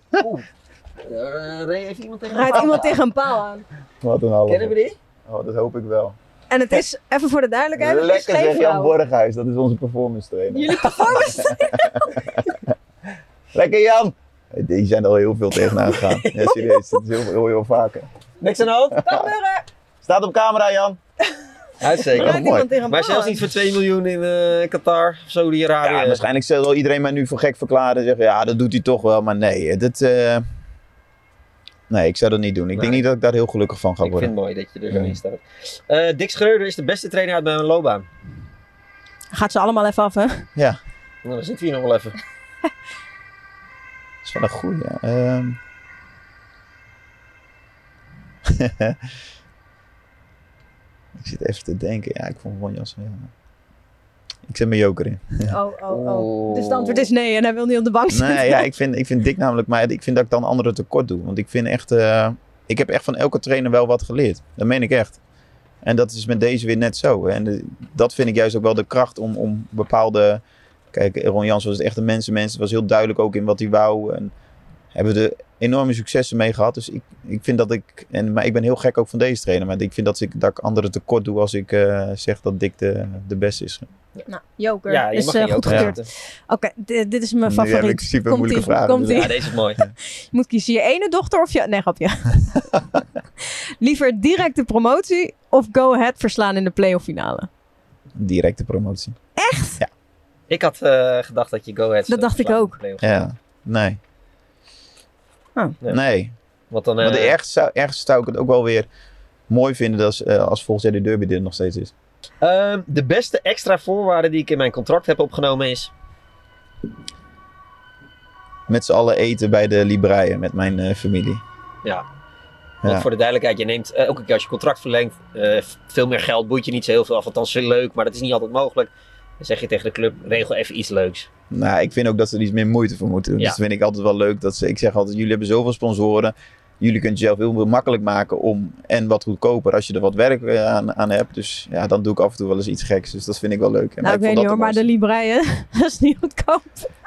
Speaker 4: Eh, heeft iemand tegen
Speaker 3: Rijdt iemand tegen een paal aan.
Speaker 10: wat een halve.
Speaker 4: Kennen we die?
Speaker 10: Oh, dat hoop ik wel.
Speaker 3: En het is, even voor de duidelijkheid, het is
Speaker 10: Lekker
Speaker 3: geen
Speaker 10: zeg Jan
Speaker 3: vrouw.
Speaker 10: Borghuis, dat is onze performance trainer.
Speaker 3: Jullie performance.
Speaker 10: Lekker Jan! Die zijn er al heel veel tegenaan gegaan. Ja, serieus. Dat is heel, heel, heel vaker.
Speaker 4: Niks aan de hand?
Speaker 3: Dag Murre!
Speaker 10: Staat op camera, Jan.
Speaker 4: Uitstekend.
Speaker 10: Rijdt iemand Mooi. tegen een
Speaker 4: maar
Speaker 10: paal
Speaker 4: zelfs
Speaker 10: aan.
Speaker 4: niet voor 2 miljoen in eh, Qatar of Saudi-Arabië.
Speaker 10: Ja, waarschijnlijk zal iedereen mij nu voor gek verklaren en zeggen, ja, dat doet hij toch wel. Maar nee, dat... eh, Nee, ik zou dat niet doen. Ik denk niet dat ik daar heel gelukkig van ga
Speaker 4: Ik
Speaker 10: worden.
Speaker 4: vind het mooi dat je er zo
Speaker 10: Ja.
Speaker 4: in staat. Eh, Dick Schreuder is de beste trainer uit mijn loopbaan.
Speaker 3: Gaat ze allemaal even af, hè?
Speaker 10: Ja,
Speaker 4: Nou, dan zitten we hier nog wel even.
Speaker 10: dat is wel een goeie. Ehm. ik zit even te denken. Ja, ik vond Ron Jansen heel... Ik zet mijn joker in.
Speaker 3: Oh, oh, oh. Dus het antwoord is nee en hij wil niet op de bank zitten.
Speaker 10: Nee, ja, ik vind, ik vind Dick namelijk, maar ik vind dat ik dan anderen tekort doe. Want ik vind echt, eh, ik heb echt van elke trainer wel wat geleerd. Dat meen ik echt. En dat is met deze weer net zo. En eh, dat vind ik juist ook wel de kracht om, om bepaalde. Kijk, Ron Jans was echt een mensenmens. Het was heel duidelijk ook in wat hij wou. En hebben we er enorme successen mee gehad. Dus ik, ik vind dat ik, en, maar ik ben heel gek ook van deze trainer. Maar ik vind dat ik, dat ik anderen tekort doe als ik eh, zeg dat Dick de, de beste is.
Speaker 3: Nou, joker
Speaker 10: Ja, je
Speaker 3: is
Speaker 10: mag
Speaker 3: eh,
Speaker 10: geen
Speaker 3: goed
Speaker 10: joker
Speaker 3: gekeurd. Oké, di- dit is mijn favoriet.
Speaker 10: Nu heb ik in principe
Speaker 3: Komt-ie,
Speaker 10: moeilijke vragen.
Speaker 3: komt-ie.
Speaker 10: dus-
Speaker 3: Je moet kiezen je ene dochter of je... Nee, grapje. Liever directe promotie of go ahead verslaan in de playoff finale?
Speaker 10: Directe promotie.
Speaker 3: Echt?
Speaker 10: Ja.
Speaker 4: Ik had eh, gedacht dat je Go Ahead
Speaker 3: Dat dacht ik ook.
Speaker 10: Ja, nee.
Speaker 3: Oh.
Speaker 10: Nee.
Speaker 4: Want dan,
Speaker 10: Maar de
Speaker 4: eh,
Speaker 10: ergste zou, ergste zou ik het ook wel weer mooi vinden als, eh, als volgens de derby dit nog steeds is.
Speaker 4: Ehm, de beste extra voorwaarde die ik in mijn contract heb opgenomen is...
Speaker 10: Met z'n allen eten bij de Libraïen met mijn eh, familie.
Speaker 4: Ja.
Speaker 10: Ja.
Speaker 4: Want voor de duidelijkheid, je neemt eh, elke keer als je contract verlengt, eh, f- veel meer geld boeit je niet zo heel veel af. Althans, heel leuk, maar dat is niet altijd mogelijk. Dan zeg je tegen de club, regel even iets leuks.
Speaker 10: Nou, ik vind ook dat ze er iets meer moeite voor moeten doen. Dus
Speaker 4: Ja.
Speaker 10: Dat vind ik altijd wel leuk. Dat ze, ik zeg altijd, jullie hebben zoveel sponsoren. Jullie kunt jezelf heel makkelijk maken om en wat goedkoper als je er wat werk eh, aan, aan hebt. Dus ja, dan doe ik af en toe wel eens iets geks. Dus dat vind ik wel leuk. En
Speaker 3: nou, ik
Speaker 10: vond
Speaker 3: weet
Speaker 10: dat
Speaker 3: niet hoor,
Speaker 10: ook
Speaker 3: maar de Libreien, dat is niet goedkoop.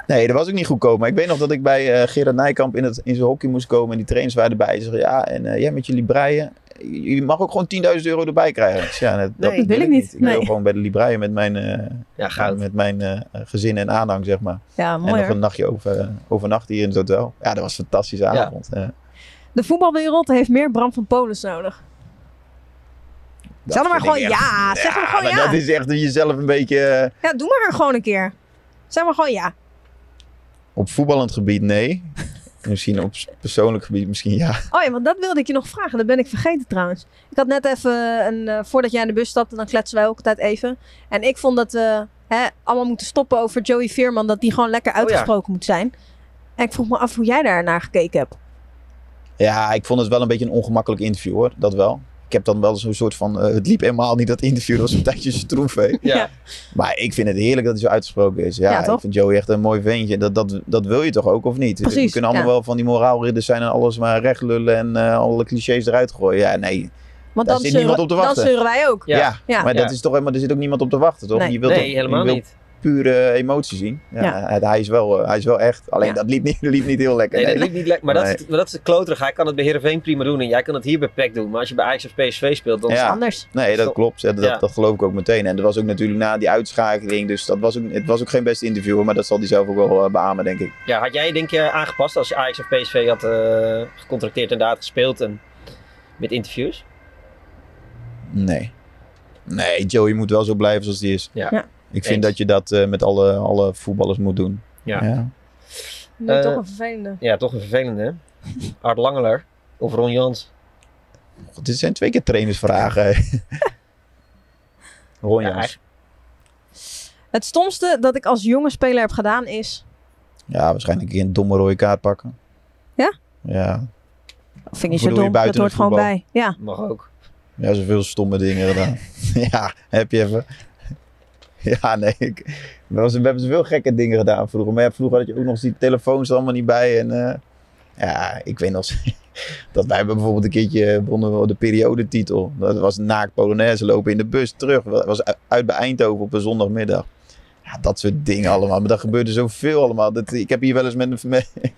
Speaker 10: Nee, dat was ook niet goedkoop. Maar ik weet nog dat ik bij eh, Gerard Nijkamp in, het, in zijn hockey moest komen. En die trainers waren erbij. Ze zeggen, ja, en eh, jij met jullie breien. Je mag ook gewoon 10.000 euro erbij krijgen. Ik zeg, ja, dat,
Speaker 3: dat wil ik niet.
Speaker 10: Ik wil
Speaker 3: Nee.
Speaker 10: gewoon bij de Libraïen met mijn, eh, met mijn eh, gezin en aanhang, zeg maar.
Speaker 3: Ja, mooi,
Speaker 10: En nog
Speaker 3: hoor.
Speaker 10: een nachtje over, eh, overnacht hier in het hotel. Ja, dat was een fantastische avond. Eh,
Speaker 3: De voetbalwereld heeft meer Bram van Polens nodig.
Speaker 10: dat
Speaker 3: Zeg dan maar
Speaker 10: vind ik
Speaker 3: gewoon ja, zeg maar gewoon
Speaker 10: maar
Speaker 3: ja.
Speaker 10: Dat is echt jezelf een beetje... eh,
Speaker 3: Ja, doe maar gewoon een keer. Zeg maar gewoon ja.
Speaker 10: op voetballend gebied, nee. misschien op persoonlijk gebied, misschien ja.
Speaker 3: Oh ja, want dat wilde ik je nog vragen. Dat ben ik vergeten trouwens. Ik had net even een. eh, voordat jij in de bus stapte, dan kletsen wij ook altijd even. En ik vond dat we hè, allemaal moeten stoppen over Joey Veerman. Dat die gewoon
Speaker 10: Oh
Speaker 3: lekker uitgesproken moet zijn. En ik vroeg me af hoe jij daar naar gekeken hebt.
Speaker 10: Ja, ik vond het wel een beetje een ongemakkelijk interview hoor, dat wel. Ik heb dan wel zo'n soort van, eh, het liep helemaal niet dat interview, dat was een tijdje stroefvee.
Speaker 4: Ja.
Speaker 10: Maar ik vind het heerlijk dat hij zo uitgesproken is. Ja,
Speaker 3: Ja, toch?
Speaker 10: ik vind Joey echt een mooi ventje. Dat, dat, dat wil je toch ook, of niet?
Speaker 3: Precies,
Speaker 10: We kunnen allemaal
Speaker 3: ja.
Speaker 10: wel van die moraalridders zijn en alles maar recht lullen en eh, alle clichés eruit gooien. Ja, nee.
Speaker 3: Want
Speaker 10: daar
Speaker 3: dan
Speaker 10: zit niemand
Speaker 3: zeuren-
Speaker 10: op te
Speaker 3: dan
Speaker 10: wachten.
Speaker 3: zeuren wij ook.
Speaker 10: Ja,
Speaker 3: Ja. Ja.
Speaker 10: maar
Speaker 3: Ja.
Speaker 10: dat is toch helemaal, er zit ook niemand op te wachten, toch?
Speaker 3: Nee.
Speaker 10: Je wilt
Speaker 3: Nee,
Speaker 10: toch- je
Speaker 4: helemaal
Speaker 10: wilt
Speaker 4: niet.
Speaker 10: Pure emotie zien. Ja,
Speaker 4: Ja.
Speaker 10: Hij, hij is wel, eh, hij is wel echt. Alleen
Speaker 4: Ja.
Speaker 10: dat liep niet, liep niet heel lekker.
Speaker 4: Nee, dat liep niet lekker. Maar
Speaker 10: Nee.
Speaker 4: dat, is, maar dat is de kloterigheid. Hij kan het bij Heerenveen prima doen en jij kan het hier bij PEC doen. Maar als je bij Ajax of PSV speelt, dan is het
Speaker 10: Nee, dat klopt. Ja, Dat,
Speaker 4: Ja.
Speaker 10: dat geloof ik ook meteen. En dat was ook natuurlijk na die uitschakeling. Dus dat was ook, het was ook geen beste interview, hoor, maar dat zal hij zelf ook wel eh, beamen, denk ik.
Speaker 4: Ja, had jij denk je aangepast als je Ajax of PSV had eh, gecontracteerd en daar had gespeeld en met interviews?
Speaker 10: Nee. Nee, Joey moet wel zo blijven zoals hij is.
Speaker 4: Ja. Ja.
Speaker 10: Ik vind
Speaker 4: Eens.
Speaker 10: dat je dat eh, met alle, alle voetballers moet doen.
Speaker 4: Ja.
Speaker 3: Nu
Speaker 4: Eh,
Speaker 3: toch een vervelende.
Speaker 4: Ja, toch een vervelende, hè? Art Langeler of Ron Jans?
Speaker 10: God, dit zijn twee keer trainersvragen. Ron Jans.
Speaker 3: Het stomste dat ik als jonge speler heb gedaan is.
Speaker 10: Ja, waarschijnlijk een keer een domme rode kaart pakken.
Speaker 3: Ja?
Speaker 10: Ja.
Speaker 3: Oh, Vind je
Speaker 10: Bedoel
Speaker 3: zo
Speaker 10: je
Speaker 3: dom? Dat
Speaker 10: buiten
Speaker 3: hoort
Speaker 10: het
Speaker 3: gewoon
Speaker 10: voetbal?
Speaker 3: bij. Ja.
Speaker 4: Mag ook.
Speaker 10: Ja, zoveel stomme dingen gedaan. ja, heb je even. Ja, nee. Ik, we, was- we hebben zoveel gekke dingen gedaan vroeger. Maar ja, vroeger had je ook nog die telefoons er allemaal niet bij. En eh, ja, ik weet nog dat wij hebben bijvoorbeeld een keertje wonnen we de periodetitel. Dat was naakt Polonaise lopen in de bus terug. Dat was u- uit bij Eindhoven op een zondagmiddag. Ja, dat soort dingen allemaal. Maar dat gebeurde zoveel allemaal. Dat, ik heb hier wel eens met een... Met,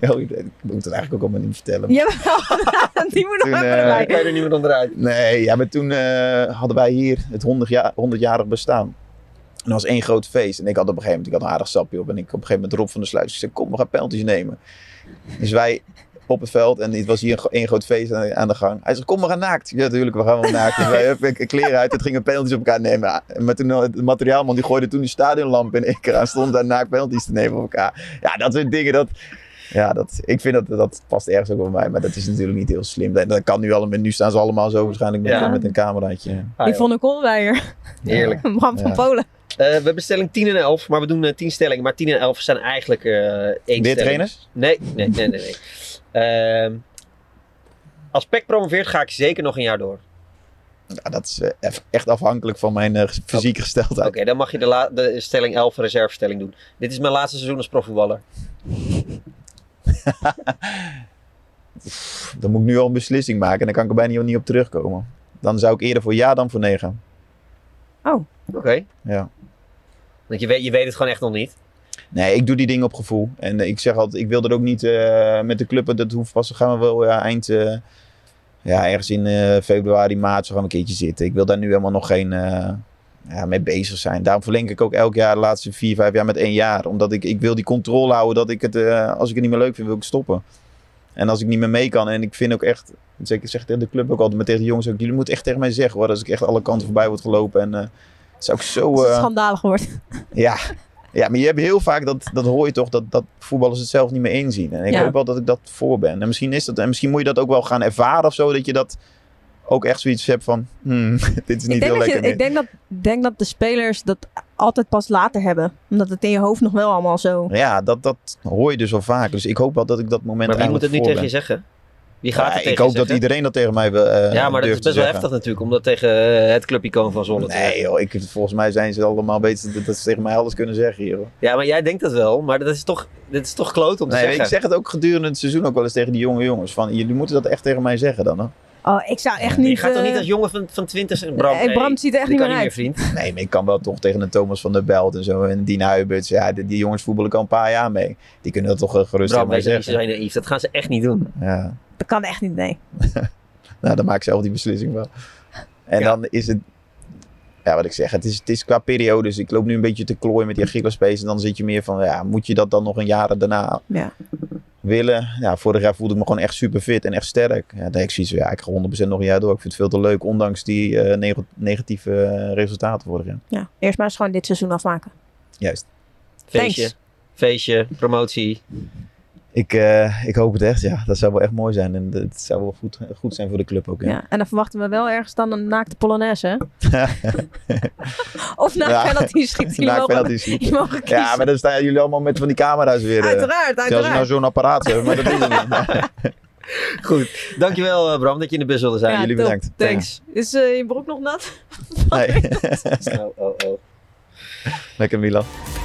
Speaker 10: Oh, ik moet het eigenlijk ook allemaal niet vertellen.
Speaker 3: Jawel, die moet nog even
Speaker 10: eh,
Speaker 3: erbij.
Speaker 10: kan je er
Speaker 4: niet meer onderuit.
Speaker 10: Nee, ja, maar toen eh, hadden wij hier het 100 jaar, 100-jarig bestaan. En dat was één groot feest. En ik had op een gegeven moment, ik had een aardig sapje op. En ik op een gegeven moment Rob van der Sluis. Ik zei, kom, we gaan penalties nemen. Dus wij op het veld. En het was hier een gro- één groot feest aan, aan de gang. Hij zei, kom, we gaan naakt. Ja, natuurlijk, we gaan wel naakt. Dus wij hebben kleren uit. Het gingen penalties op elkaar nemen. Maar toen had het materiaalman, die gooide toen die stadionlamp in één keer aan. Stond daar naakt penalties te nemen op elkaar. Ja, dat soort dingen, dat... Ja, dat, ik vind dat dat past ergens ook bij mij. Maar dat is natuurlijk niet heel slim. En dat kan nu allemaal. Nu staan ze allemaal zo waarschijnlijk met,
Speaker 4: Ja.
Speaker 10: met een cameraatje.
Speaker 3: Die vond ik onwijer.
Speaker 4: Heerlijk.
Speaker 3: Bram van
Speaker 10: Ah, Ja.
Speaker 3: Polen.
Speaker 4: Eh, we hebben stelling 10 en 11, maar we doen eh, 10 stellingen. Maar 10 en 11 zijn eigenlijk eh één stelling.
Speaker 10: trainers?
Speaker 4: Nee, nee, nee, nee. nee. Ehm, als PEC promoveert ga ik zeker nog een jaar door.
Speaker 10: Ja, dat is eh, eff- echt afhankelijk van mijn eh, fysieke
Speaker 4: Oké,
Speaker 10: gesteldheid.
Speaker 4: dan mag je de, la- de stelling 11 reservestelling doen. Dit is mijn laatste seizoen als profvoetballer.
Speaker 10: Dan moet ik nu al een beslissing maken en dan kan ik er bijna niet op terugkomen. Dan zou ik eerder voor ja dan voor nee gaan.
Speaker 3: Oh.
Speaker 4: Oké.
Speaker 10: Ja.
Speaker 4: Want je weet, je weet het gewoon echt nog niet.
Speaker 10: Nee, ik doe die dingen op gevoel. En eh, ik zeg altijd, ik wil dat ook niet eh, met de club. Dat hoeft pas, gaan we wel ja, eind... eh, ja, ergens in eh, februari, maart zo gaan we een keertje zitten. Ik wil daar nu helemaal nog geen... eh, ja, mee bezig zijn. Daarom verleng ik ook elk jaar de laatste vier, vijf jaar met één jaar. Omdat ik, ik wil die controle houden dat ik het... eh, als ik het niet meer leuk vind, wil ik stoppen. En als ik niet meer mee kan en ik vind ook echt, zeker zeg tegen de club ook altijd, maar tegen de jongens ook, jullie moeten echt tegen mij zeggen hoor, als ik echt alle kanten voorbij word gelopen en eh het zou ik zo...
Speaker 3: Als het
Speaker 10: eh,
Speaker 3: schandalig wordt.
Speaker 10: ja. ja, maar je hebt heel vaak, dat, dat hoor je toch, dat, dat voetballers het zelf niet meer inzien. En ik
Speaker 3: Ja.
Speaker 10: hoop wel dat ik dat voor ben. En misschien, is dat, en misschien moet je dat ook wel gaan ervaren of zo, dat je dat ook echt zoiets hebt van, hmm, dit is niet
Speaker 3: Ik denk, dat
Speaker 10: heel
Speaker 3: je,
Speaker 10: lekker meer.
Speaker 3: ik denk dat, denk dat de spelers dat altijd pas later hebben. Omdat het in je hoofd nog wel allemaal zo...
Speaker 10: Ja, dat, dat hoor je dus wel vaak. Dus ik hoop wel dat ik dat moment
Speaker 4: Maar wie moet
Speaker 10: eigenlijk
Speaker 4: het nu
Speaker 10: voor
Speaker 4: tegen je
Speaker 10: ben.
Speaker 4: zeggen? Wie gaat
Speaker 10: Ja,
Speaker 4: het tegen
Speaker 10: ik
Speaker 4: je
Speaker 10: hoop dat
Speaker 4: zeggen?
Speaker 10: iedereen dat tegen mij wil. eh,
Speaker 4: ja, maar dat is best
Speaker 10: durft te
Speaker 4: wel
Speaker 10: zeggen.
Speaker 4: heftig natuurlijk, om dat tegen eh, het clubicoon van Zwolle te
Speaker 10: Nee joh, ik, volgens mij zijn ze allemaal beter dat- dat ze tegen mij alles kunnen zeggen hier. Hoor.
Speaker 4: Ja, maar jij denkt dat wel, maar dat is toch, dit is toch kloot om te
Speaker 10: Nee,
Speaker 4: zeggen.
Speaker 10: ik zeg het ook gedurende het seizoen ook wel eens tegen die jonge jongens. Van, jullie moeten dat echt tegen mij zeggen dan. Hoor.
Speaker 3: Oh, ik zou echt niet...
Speaker 4: je gaat toch niet
Speaker 3: eh,
Speaker 4: als jongen van, van 20 zeggen, Bram,
Speaker 3: Nee, Bram ziet er echt
Speaker 4: dit
Speaker 3: niet
Speaker 4: kan
Speaker 3: meer
Speaker 4: vriend.
Speaker 10: Nee, maar ik kan wel toch tegen een Thomas van der Belt en zo en Dien Huiberts. Ja, die, die jongens voetballen al een paar jaar mee. Die kunnen dat toch eh, gerust
Speaker 4: Bram,
Speaker 10: tegen mij
Speaker 4: wees niet
Speaker 10: zeggen.
Speaker 4: zo naïef. Dat gaan ze echt niet doen.
Speaker 10: Ja.
Speaker 3: Dat kan echt niet, nee.
Speaker 10: Nou, dan maak ik zelf die beslissing wel. En dan is het... Ja, wat ik zeg, het is, het is qua periodes. Ik loop nu een beetje te klooien met die Achillespees. En dan zit je meer van, ja, moet je dat dan nog een jaar daarna
Speaker 3: Ja.
Speaker 10: willen? Ja, vorig jaar voelde ik me gewoon echt super fit en echt sterk. Ja, dan heb ik zoiets van, ja, ik ga 100% nog een jaar door. Ik vind het veel te leuk, ondanks die eh, neg- negatieve eh, resultaten vorig jaar.
Speaker 3: ja. Eerst maar eens gewoon dit seizoen afmaken.
Speaker 10: Juist.
Speaker 4: Feestje,
Speaker 3: Thanks.
Speaker 4: feestje, promotie.
Speaker 10: Ik, eh, ik hoop het echt, ja. Dat zou wel echt mooi zijn. En het zou wel goed, goed zijn voor de club ook, ja.
Speaker 3: Ja. En dan verwachten we wel ergens dan een naakte Polonaise, hè? Of na
Speaker 10: Ja.
Speaker 3: penalty schiet. Jullie
Speaker 10: Na
Speaker 3: mogen-
Speaker 10: penalty schiet.
Speaker 3: jullie mogen kiezen.
Speaker 10: Ja, maar dan staan jullie allemaal met van die camera's weer. eh.
Speaker 3: Uiteraard,
Speaker 10: Terwijl ze
Speaker 3: uiteraard.
Speaker 10: nou zo'n apparaat hebben, maar dat doen ze niet.
Speaker 4: Goed, dankjewel eh, Bram dat je in de bus wilde zijn.
Speaker 10: Ja, Jullie top. bedankt.
Speaker 4: Thanks.
Speaker 3: Is eh, je broek nog nat?
Speaker 10: Nee.
Speaker 4: Oh, oh, oh.
Speaker 10: Lekker Milan.